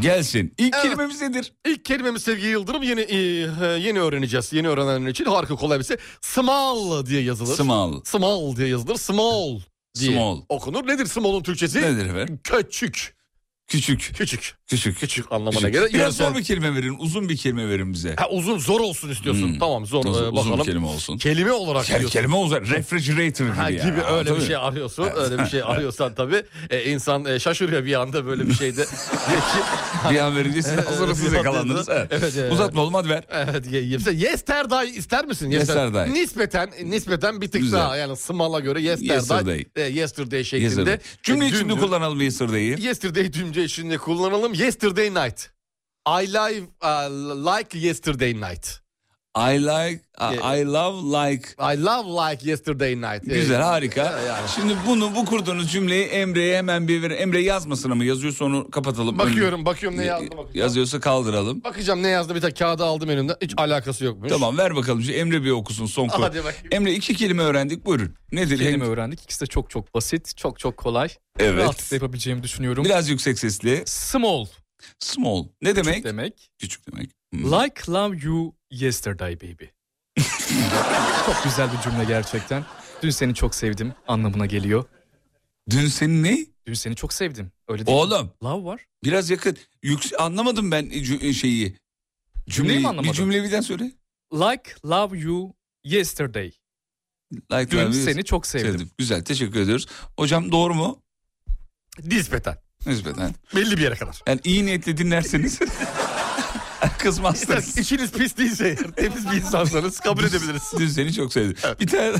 Speaker 4: Gelsin. İlk
Speaker 5: Evet.
Speaker 4: kelimemiz nedir?
Speaker 5: İlk kelimemiz sevgili Yıldırım yeni e, e, yeni öğreneceğiz. Yeni öğrenenler için harika kolay bir şey. Small diye yazılır.
Speaker 4: Small.
Speaker 5: Small diye yazılır. Small diye
Speaker 4: Small.
Speaker 5: okunur. Nedir small'un Türkçesi?
Speaker 4: Nedir efendim?
Speaker 5: Küçük.
Speaker 4: Küçük.
Speaker 5: Küçük.
Speaker 4: Küçük.
Speaker 5: Küçük anlamına
Speaker 4: Küçük.
Speaker 5: göre.
Speaker 4: Biraz
Speaker 5: yöresel-
Speaker 4: zor bir kelime verin. Uzun bir kelime verin bize.
Speaker 5: Ha, uzun zor olsun istiyorsun.
Speaker 4: Hmm.
Speaker 5: Tamam zor.
Speaker 4: Uzun,
Speaker 5: Ee,
Speaker 4: uzun
Speaker 5: bakalım.
Speaker 4: bir kelime olsun.
Speaker 5: Kelime olarak
Speaker 4: Kel-
Speaker 5: diyorsun.
Speaker 4: kelime olacak. Refrigerator gibi.
Speaker 5: Ha,
Speaker 4: ya.
Speaker 5: gibi öyle bir
Speaker 4: Tabii.
Speaker 5: şey arıyorsun. Öyle bir şey arıyorsan tabii. E, insan e, şaşırıyor bir anda böyle bir şeyde. Diyor ki,
Speaker 4: Bir an verince siz hazırız siz
Speaker 5: bir an
Speaker 4: yakalandınız.
Speaker 5: dediniz.
Speaker 4: Evet.
Speaker 5: Evet, evet.
Speaker 4: Uzatma oğlum hadi ver.
Speaker 5: Evet ye- yemse yesterday ister misin? Yester-
Speaker 4: Yesterday.
Speaker 5: Nispeten nispeten bir tık
Speaker 4: Güzel.
Speaker 5: daha yani small'a göre yesterday,
Speaker 4: Yesterday.
Speaker 5: yesterday, e, yesterday şeklinde.
Speaker 4: Yesterday. Cümle
Speaker 5: E,
Speaker 4: içinde
Speaker 5: dündü.
Speaker 4: kullanalım yesterday'i.
Speaker 5: Yesterday cümle içinde kullanalım. Yesterday night. I live uh, like yesterday night. E,
Speaker 4: I like, uh, I love like.
Speaker 5: I love like yesterday night. E,
Speaker 4: Güzel harika.
Speaker 5: ya- yani.
Speaker 4: Şimdi bunu bu kurduğunuz cümleyi Emre'ye hemen bir verin. Emre yazmasın ama yazıyorsa onu kapatalım.
Speaker 5: Bakıyorum bakıyorum ne yazdı
Speaker 4: Önü-
Speaker 5: bakacağım.
Speaker 4: Yazıyorsa kaldıralım.
Speaker 5: Bakacağım ne yazdı bir tane kağıdı aldım elimden. Hiç alakası yokmuş.
Speaker 4: Tamam ver bakalım. Şimdi Emre bir okusun son konu.
Speaker 5: Hadi bakayım.
Speaker 4: Emre iki kelime öğrendik buyurun. Nedir?
Speaker 13: kelime
Speaker 4: Hem-
Speaker 13: öğrendik. İkisi de çok çok basit, çok çok kolay.
Speaker 4: Evet.
Speaker 13: Rahatlıkla yapabileceğimi düşünüyorum.
Speaker 4: Biraz yüksek sesli.
Speaker 13: Small
Speaker 4: Small. Ne demek?
Speaker 13: demek.
Speaker 4: Küçük demek. Hmm.
Speaker 13: Like love you yesterday baby. çok güzel bir cümle gerçekten. Dün seni çok sevdim anlamına geliyor.
Speaker 4: Dün senin ne?
Speaker 13: Dün seni çok sevdim. Öyle değil mi?
Speaker 4: Oğlum
Speaker 13: Love var.
Speaker 4: biraz yakın. Yüksek anlamadım ben cü- şeyi.
Speaker 13: Cümleyi mi anlamadın?
Speaker 4: Bir cümle birden söyle.
Speaker 13: Like love you yesterday.
Speaker 4: Like
Speaker 13: Dün
Speaker 4: love you.
Speaker 13: seni çok sevdim.
Speaker 4: Güzel teşekkür ediyoruz. Hocam doğru mu?
Speaker 5: Nispeten.
Speaker 4: Nispeten.
Speaker 5: Belli bir yere kadar.
Speaker 4: Yani iyi niyetle dinlerseniz kızmazsınız.
Speaker 5: İster işiniz pis değilse, temiz bir insansanız kabul edebiliriz.
Speaker 4: Dün seni çok sevdim. Bir tane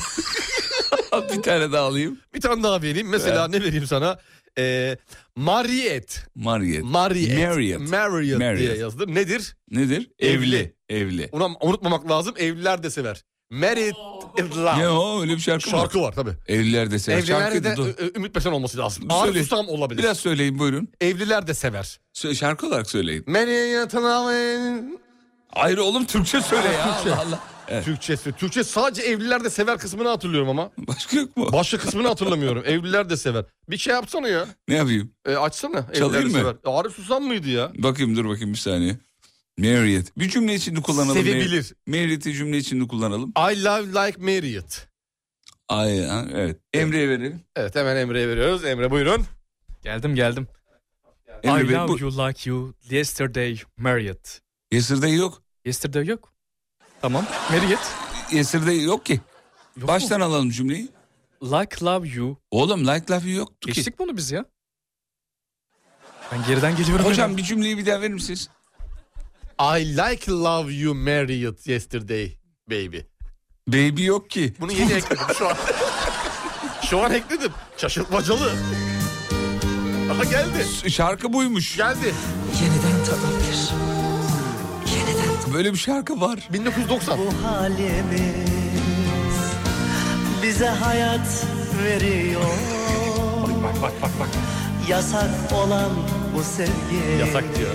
Speaker 4: bir tane daha alayım.
Speaker 5: Bir tane daha vereyim. Mesela ne vereyim sana? Ee, Mariet.
Speaker 4: Mariet.
Speaker 5: Mariet.
Speaker 4: Marriott.
Speaker 5: Marriott diye
Speaker 4: Marriott.
Speaker 5: yazılır. Nedir?
Speaker 4: Nedir?
Speaker 5: Evli.
Speaker 4: Evli.
Speaker 5: Ona unutmamak lazım. Evliler de sever. Married in Love.
Speaker 4: Ne o öyle bir şarkı, mı?
Speaker 5: Şarkı var tabii.
Speaker 4: Evliler de sever. Şarkı
Speaker 5: Evliler de
Speaker 4: da doğru.
Speaker 5: Ü- Ü- Ümit Besen olması lazım.
Speaker 4: Söyle.
Speaker 5: Arif Susam olabilir.
Speaker 4: Biraz söyleyin buyurun.
Speaker 5: Evliler de sever.
Speaker 4: Sö- Şarkı olarak söyleyin.
Speaker 5: Marriott in Love.
Speaker 4: Ayrı oğlum Türkçe söyle ya. Allah Allah. Evet.
Speaker 5: Türkçesi. Türkçe sadece evliler de sever kısmını hatırlıyorum ama.
Speaker 4: Başka yok mu?
Speaker 5: Başka kısmını hatırlamıyorum. evliler de sever. Bir şey yapsana ya.
Speaker 4: Ne yapayım?
Speaker 5: E, açsana.
Speaker 4: Çalayım
Speaker 5: Evliler de
Speaker 4: mı?
Speaker 5: sever. Arif Susam mıydı ya?
Speaker 4: Bakayım dur bakayım bir saniye. Marriott. Bir cümle içinde kullanalım.
Speaker 5: Sevebilir.
Speaker 4: Marriott'i cümle içinde kullanalım.
Speaker 5: I love like Marriott.
Speaker 4: Ay, ha, evet. Emre'ye verelim.
Speaker 5: Evet hemen Emre'ye veriyoruz. Emre buyurun.
Speaker 13: Geldim geldim.
Speaker 4: Emre
Speaker 13: I
Speaker 4: Bey,
Speaker 13: love
Speaker 4: bu-
Speaker 13: you like you yesterday Marriott.
Speaker 4: Yesterday yok.
Speaker 13: Yesterday yok. Tamam. Marriott.
Speaker 4: Yesterday yok ki.
Speaker 13: Yok mu?
Speaker 4: Baştan alalım cümleyi.
Speaker 13: Like love you.
Speaker 4: Oğlum like love you yoktu ki.
Speaker 13: Geçtik mi onu biz ya? Ben geriden geliyorum.
Speaker 4: Hocam bir cümleyi bir daha verir misiniz?
Speaker 5: I like love you Marriott yesterday baby.
Speaker 4: Baby yok ki.
Speaker 5: Bunu yeni ekledim şu an. şu an ekledim. Şaşırtmacalı. Aha geldi.
Speaker 4: Şarkı buymuş.
Speaker 5: Geldi.
Speaker 1: Yeniden tapabilir. Yeniden
Speaker 4: Böyle bir şarkı var.
Speaker 5: 1990.
Speaker 9: Bu halimiz bize hayat veriyor. bak bak bak bak bak. Yasak olan bu sevgi.
Speaker 5: Yasak diyor.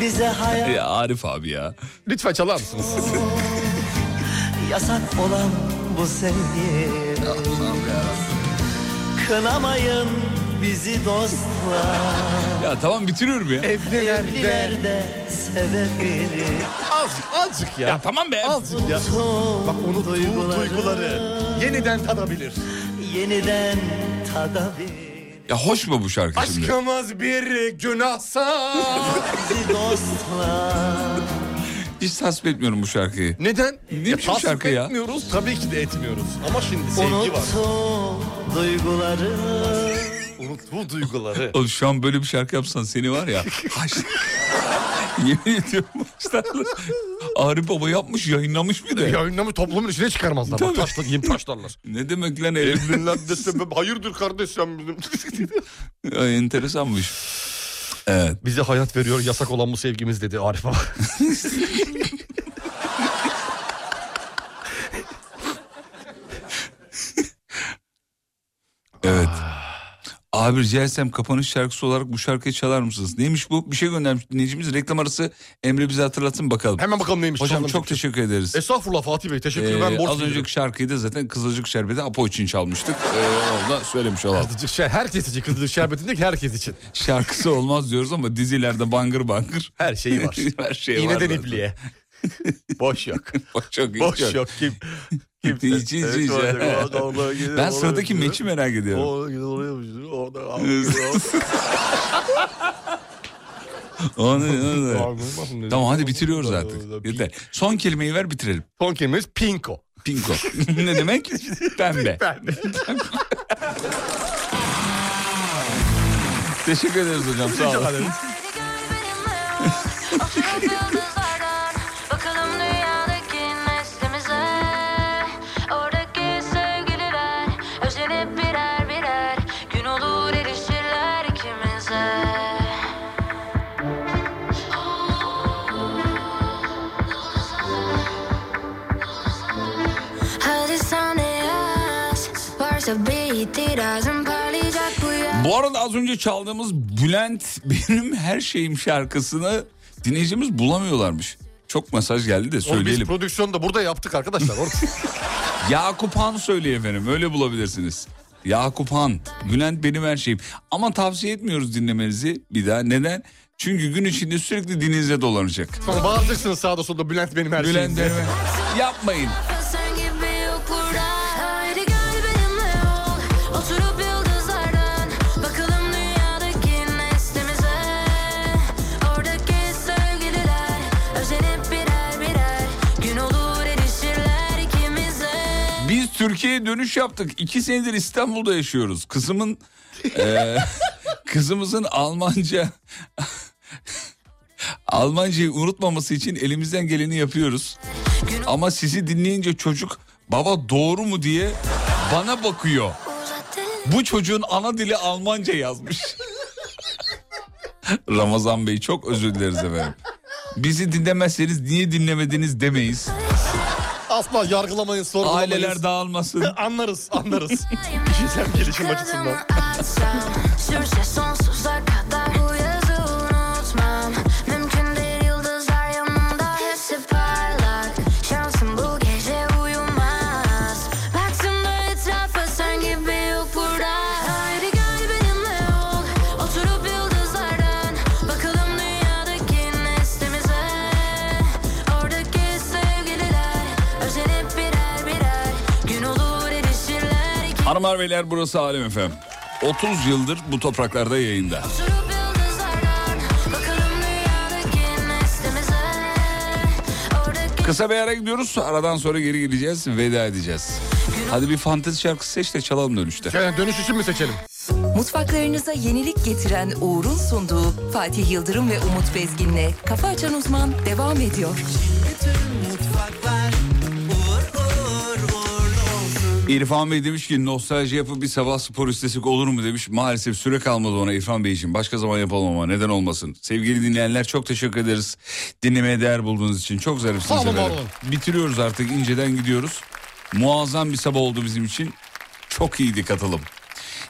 Speaker 9: Bize hayat
Speaker 4: Ya Arif abi ya.
Speaker 5: Lütfen çalar mısınız?
Speaker 9: yasak olan bu sevgi. Kınamayın bizi dostlar.
Speaker 4: Ya tamam bitiriyorum ya.
Speaker 5: Evlilerde.
Speaker 9: Evlilerde sebebini
Speaker 5: Azıcık, azıcık ya.
Speaker 4: Ya tamam be.
Speaker 5: Azıcık ya.
Speaker 9: unutun.
Speaker 5: Bak unuttuğum
Speaker 9: Duyguları.
Speaker 5: duyguları yeniden tadabilir.
Speaker 9: yeniden tadabilir.
Speaker 4: Ya hoş mu bu şarkı şimdi?
Speaker 5: Aşkımız bir günahsa.
Speaker 9: Bizi dostlar.
Speaker 4: Hiç tasvip etmiyorum bu şarkıyı.
Speaker 5: Neden?
Speaker 4: Ne biçim
Speaker 5: E, tasvip
Speaker 4: şarkı ya?
Speaker 5: etmiyoruz tabii ki de etmiyoruz. Ama şimdi sevgi var.
Speaker 9: Unutun duyguları
Speaker 5: Unuttuğu duyguları.
Speaker 4: Oğlum şu an böyle bir şarkı yapsan seni var ya. haş- Yemin ediyorum haşlarla. Arif Baba yapmış yayınlamış bir de.
Speaker 5: ya ünlemi toplumun içine çıkarmazlar.
Speaker 4: Tabii.
Speaker 5: Bak, taşla, yiyip taşlarlar.
Speaker 4: Ne demek lan Elif?
Speaker 5: Evliler de sebep hayırdır kardeş sen bizim.
Speaker 4: Ay, enteresanmış. Evet.
Speaker 5: Bize hayat veriyor yasak olan bu sevgimiz dedi Arif Baba.
Speaker 4: Evet. Abi rica etsem kapanış şarkısı olarak bu şarkıyı çalar mısınız? Neymiş bu? Bir şey göndermiş dinleyicimiz. Reklam arası Emre bize hatırlatsın bakalım.
Speaker 5: Hemen bakalım neymiş.
Speaker 4: Hocam
Speaker 5: Çalalım
Speaker 4: çok teşekkür ederiz.
Speaker 5: Estağfurullah Fatih Bey teşekkür
Speaker 4: Ee,
Speaker 5: ederim. ben borç
Speaker 4: az önceki şarkıyı da zaten Kızılcık Şerbeti Apo için çalmıştık. Ee, onu da söylemiş olalım.
Speaker 5: Kızılcık şer, Şey, herkes için Kızılcık şerbetindeki herkes için.
Speaker 4: Şarkısı olmaz diyoruz ama dizilerde bangır bangır.
Speaker 5: Her şeyi var.
Speaker 4: Her şey var.
Speaker 5: İğneden
Speaker 4: zaten.
Speaker 5: ipliğe. Boş yok.
Speaker 4: Boş yok. hiç
Speaker 5: Boş yok. Kim? Kimse.
Speaker 4: Hiç, hiç, hiç. Ben sıradaki meçi merak ediyorum.
Speaker 5: Oraya gidiyor, oraya gidiyor, orada
Speaker 4: Onu, onu.
Speaker 5: gidiyor.
Speaker 4: Tamam hadi bitiriyoruz artık. Yeter. Son kelimeyi ver bitirelim.
Speaker 5: Son kelimemiz pinko.
Speaker 4: Pinko. ne demek? Pembe. Teşekkür ederiz hocam. Sağ olun.
Speaker 14: Bakalım dünyadaki neslimize Oradaki sevgililer Özenip birer birer Gün olur erişirler ikimize Hadi sana yaz Varsa bir itirazın parlayacak bu yaz
Speaker 4: Bu arada az önce çaldığımız Bülent Benim Her Şeyim şarkısını dinleyicimiz bulamıyorlarmış. Çok mesaj geldi de
Speaker 5: Oğlum Biz
Speaker 4: söyleyelim.
Speaker 5: prodüksiyonu da burada yaptık arkadaşlar. Orada.
Speaker 4: Yakup Han söylüyor efendim öyle bulabilirsiniz. Yakup Han, Bülent benim her şeyim. Ama tavsiye etmiyoruz dinlemenizi bir daha. Neden? Çünkü gün içinde sürekli dininizde dolanacak.
Speaker 5: Sonra bağıracaksınız sağda solda Bülent benim her
Speaker 4: Bülent
Speaker 5: şeyim. diye.
Speaker 4: benim Yapmayın.
Speaker 14: Sen gibi yok burada Haydi gel benimle ol Oturup yıldızlardan Bakalım dünyadaki neslimize Oradaki sevgililer Özenip birer birer Gün olur erişirler ikimize
Speaker 4: Biz Türkiye'ye dönüş yaptık. İki senedir İstanbul'da yaşıyoruz. Kızımın eee, kızımızın Almanca Almancayı unutmaması için elimizden geleni yapıyoruz. Ama sizi dinleyince çocuk baba doğru mu diye bana bakıyor. Bu çocuğun ana dili Almanca yazmış. Ramazan Bey çok özür dileriz efendim. Bizi dinlemezseniz niye dinlemediniz demeyiz.
Speaker 5: Asla yargılamayın sorgulamayın.
Speaker 4: Aileler dağılmasın.
Speaker 5: Anlarız anlarız. Kişisel gelişim açısından.
Speaker 14: Sürse sonsuza kadar Bu yazı unutmam Mümkün değil yıldızlar yanımda Hepsi parlak Şansım bu gece uyumaz Baktığımda etrafa sen gibi yok burada Haydi gel benimle ol Oturup yıldızlardan Bakalım dünyadaki neslimize Oradaki sevgililer Özenip birer birer Gün olur erişirler
Speaker 4: Hanımlar beyler burası Alem Efem. 30 yıldır bu topraklarda yayında. Kısa bir ara gidiyoruz. Aradan sonra geri gireceğiz. Veda edeceğiz. Hadi bir fantezi şarkısı seç de çalalım dönüşte.
Speaker 5: Yani dönüş için mi seçelim?
Speaker 1: Mutfaklarınıza yenilik getiren Uğur'un sunduğu Fatih Yıldırım ve Umut Bezgin'le Kafa Açan Uzman devam ediyor.
Speaker 4: İrfan Bey demiş ki nostalji yapıp bir sabah spor istesek olur mu demiş. Maalesef süre kalmadı ona İrfan Bey için. Başka zaman yapalım ama neden olmasın. Sevgili dinleyenler çok teşekkür ederiz. Dinlemeye değer bulduğunuz için. Çok zarifsiniz
Speaker 5: Sağ olun,
Speaker 4: efendim.
Speaker 5: var olun.
Speaker 4: Bitiriyoruz artık inceden gidiyoruz. Muazzam bir sabah oldu bizim için. Çok iyiydi katalım.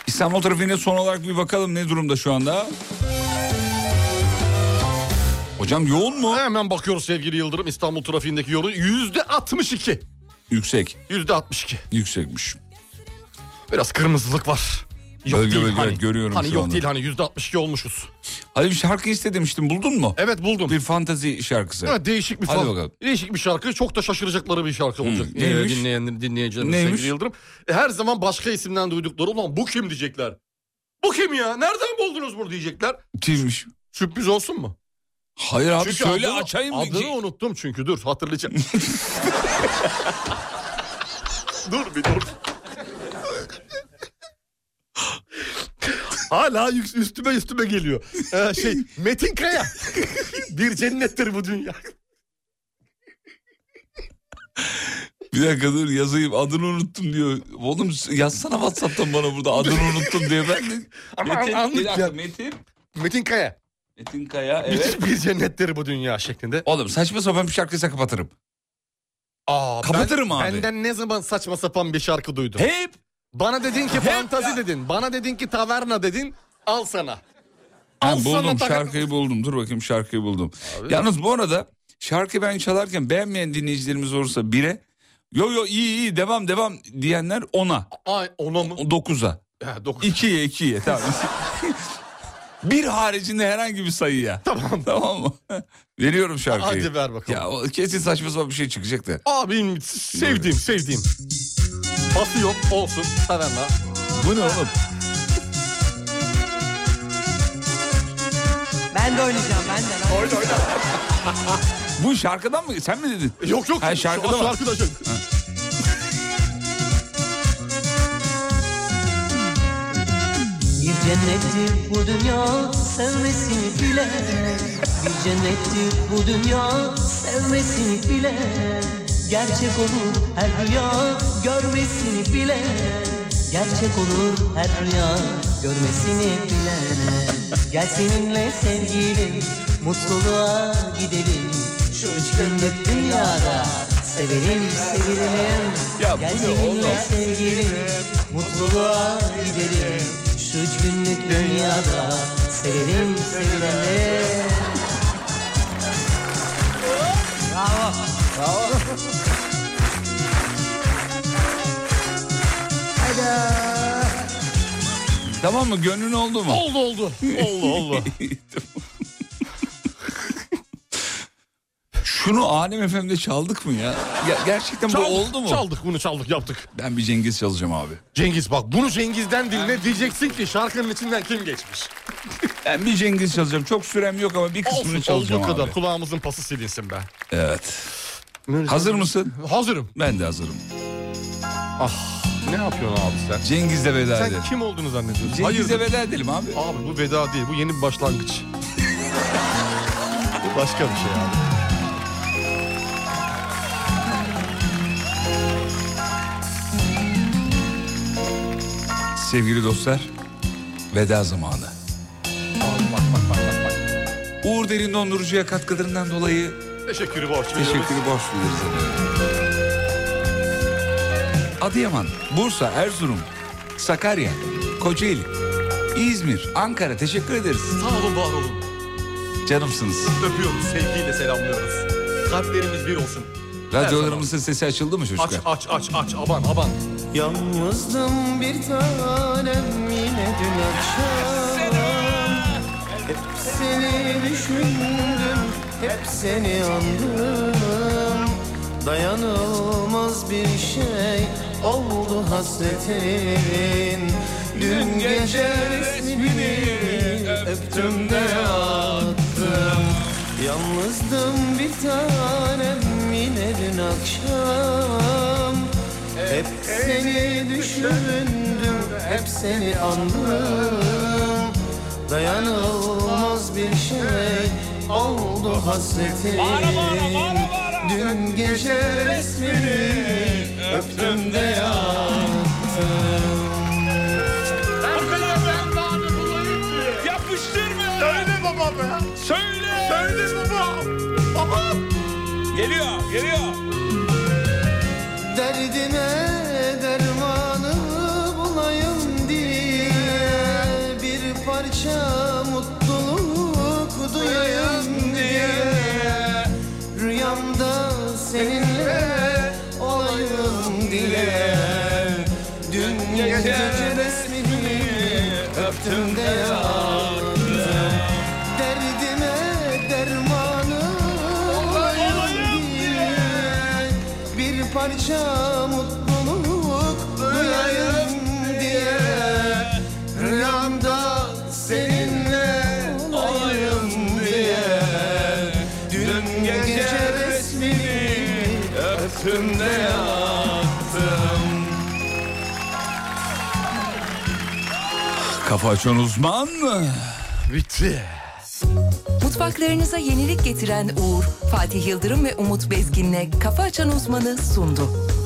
Speaker 4: İstanbul trafiğine son olarak bir bakalım ne durumda şu anda. Hocam yoğun mu?
Speaker 5: Hemen bakıyoruz sevgili Yıldırım İstanbul trafiğindeki yolu yüzde 62.
Speaker 4: Yüksek.
Speaker 5: Yüzde 62.
Speaker 4: Yüksekmiş.
Speaker 5: Biraz kırmızılık var. Yok
Speaker 4: Bölge
Speaker 5: değil
Speaker 4: bölge,
Speaker 5: hani.
Speaker 4: evet, görüyorum
Speaker 5: Hani
Speaker 4: şu
Speaker 5: yok
Speaker 4: anda.
Speaker 5: değil hani yüzde 62 olmuşuz.
Speaker 4: Hadi bir şarkı istemiştim buldun mu?
Speaker 5: Evet buldum.
Speaker 4: Bir fantazi şarkısı.
Speaker 5: Evet, değişik bir
Speaker 4: Hadi
Speaker 5: şarkı.
Speaker 4: bakalım.
Speaker 5: Değişik bir şarkı. Çok da şaşıracakları bir şarkı olacak. Ee,
Speaker 4: neymiş?
Speaker 5: Dinleyen, dinleyicilerimiz
Speaker 4: Neymiş?
Speaker 5: sevgili Yıldırım. E, Her zaman başka isimden duydukları ulan bu kim diyecekler. Bu kim ya? Nereden buldunuz bunu diyecekler.
Speaker 4: Kimmiş?
Speaker 5: Sürpriz olsun mu?
Speaker 4: Hayır abi
Speaker 5: Çünkü
Speaker 4: söyle
Speaker 5: adını-
Speaker 4: açayım.
Speaker 5: Adını unuttum çünkü dur hatırlayacağım. dur bir dur. Hala yük- üstüme üstüme geliyor. Ee, şey Metin Kaya. bir cennettir bu dünya.
Speaker 4: Bir dakika dur yazayım adını unuttum diyor. Oğlum yazsana Whatsapp'tan bana burada adını unuttum diye ben de.
Speaker 5: Ama
Speaker 4: Metin,
Speaker 5: anlık
Speaker 4: bir dakika,
Speaker 5: ya.
Speaker 4: Metin.
Speaker 5: Metin Kaya.
Speaker 4: Metin Kaya evet.
Speaker 5: Bir cennettir bu dünya şeklinde.
Speaker 4: Oğlum saçma sapan bir şarkıysa kapatırım.
Speaker 5: Aa,
Speaker 4: Kapatırım
Speaker 5: ben,
Speaker 4: abi.
Speaker 5: Benden ne zaman saçma sapan bir şarkı duydun?
Speaker 4: Hep.
Speaker 5: Bana dedin ki fantazi dedin. Bana dedin ki taverna dedin. Al sana.
Speaker 4: Ha,
Speaker 5: Al sana
Speaker 4: buldum
Speaker 5: takı-
Speaker 4: şarkıyı buldum. Dur bakayım şarkıyı buldum. Yalnız bu arada şarkı ben çalarken beğenmeyen dinleyicilerimiz olursa bire yo yo iyi iyi devam devam diyenler ona.
Speaker 5: Ay ona mı?
Speaker 4: 9'a. İkiye ikiye tamam. bir haricinde herhangi bir sayıya. Tamam. Tamam mı? Veriyorum şarkıyı.
Speaker 5: Hadi ver bakalım.
Speaker 4: Ya o kesin saçma sapan bir şey çıkacak da.
Speaker 5: Abim sevdiğim sevdiğim. Bası yok olsun taverna.
Speaker 4: Bu ne oğlum?
Speaker 11: Ben de oynayacağım ben de. Ben oyna oyna.
Speaker 4: Bu şarkıdan mı? Sen mi dedin?
Speaker 5: Yok yok.
Speaker 4: Ha, şarkıda
Speaker 5: Şu-
Speaker 4: var.
Speaker 5: şarkıda şarkı.
Speaker 7: Bir cennettir bu dünya sevmesini bile Bir cennettir bu dünya sevmesini bile Gerçek olur her rüya görmesini bile Gerçek olur her rüya görmesini bile Gel seninle sevgilim mutluluğa gidelim Şu üç günlük dünyada sevelim sevilelim Gel seninle sevgilim mutluluğa gidelim şu üç günlük dünyada sevelim sevilelim.
Speaker 11: Bravo. Bravo. Hayda.
Speaker 4: Tamam mı? Gönlün oldu mu?
Speaker 5: Oldu oldu. Oldu oldu.
Speaker 4: Şunu Alem FM'de çaldık mı ya? ya gerçekten
Speaker 5: Çaldık,
Speaker 4: bu oldu mu?
Speaker 5: Çaldık bunu çaldık yaptık.
Speaker 4: Ben bir Cengiz çalacağım abi.
Speaker 5: Cengiz bak bunu Cengiz'den dinle diyeceksin ki şarkının içinden kim geçmiş.
Speaker 4: Ben bir Cengiz çalacağım. Çok sürem yok ama bir kısmını
Speaker 5: Olsun
Speaker 4: çalacağım
Speaker 5: olduğu kadar
Speaker 4: abi.
Speaker 5: kulağımızın pası silinsin be.
Speaker 4: Evet. Hazır mısın?
Speaker 5: Hazırım.
Speaker 4: Ben de hazırım.
Speaker 5: Ah ne yapıyorsun abi sen?
Speaker 4: Cengiz'le veda
Speaker 5: Sen
Speaker 4: edelim.
Speaker 5: kim olduğunu zannediyorsun?
Speaker 4: Cengiz'le
Speaker 5: Hayırdır?
Speaker 4: veda edelim abi.
Speaker 5: Abi bu veda değil bu yeni bir başlangıç. bu başka bir şey abi.
Speaker 4: Sevgili dostlar, veda zamanı. Uğur Derin Dondurucu'ya katkılarından dolayı
Speaker 5: Teşekkürü borç biliyoruz.
Speaker 4: teşekkürü borç duyuyoruz efendim. Adıyaman, Bursa, Erzurum, Sakarya, Kocaeli, İzmir, Ankara teşekkür ederiz.
Speaker 5: Sağ olun var olun.
Speaker 4: Canımsınız.
Speaker 5: Öpüyoruz sevgiyle selamlıyoruz. Kalplerimiz bir olsun.
Speaker 4: Radyolarımızın sesi açıldı mı çocuklar?
Speaker 5: Aç aç aç aç aban aban.
Speaker 2: Yalnızdım bir tanem yine dün akşam Hep seni düşündüm, hep seni andım Dayanılmaz bir şey oldu hasretin Dün gece resmini öptüm de attım Yalnızdım bir tanem yine dün akşam hep seni düşündüm, hep seni andım Dayanılmaz bir şey oldu hasretin Dün gece resmini öptüm de yattım
Speaker 10: Bu kadar ben daha ne bulayım ki? Yapıştırma. Söyle baba be. Söyle. Söyle baba. Baba.
Speaker 4: Geliyor, geliyor.
Speaker 2: Derdine dermanı bulayım diye Bir parça mutluluk duyayım diye Rüyamda seninle olayım diye Dün gece resmini öptüm de yattım Derdime dermanı olayım diye bir parça mutluluk duyayım diye Rüyamda seninle olayım diye Dün gece resmini öptüm de yattım
Speaker 4: Kafa açan uzman mı?
Speaker 5: Bitti.
Speaker 1: Mutfaklarınıza yenilik getiren Uğur, Fatih Yıldırım ve Umut Bezgin'le Kafa Açan Uzman'ı sundu.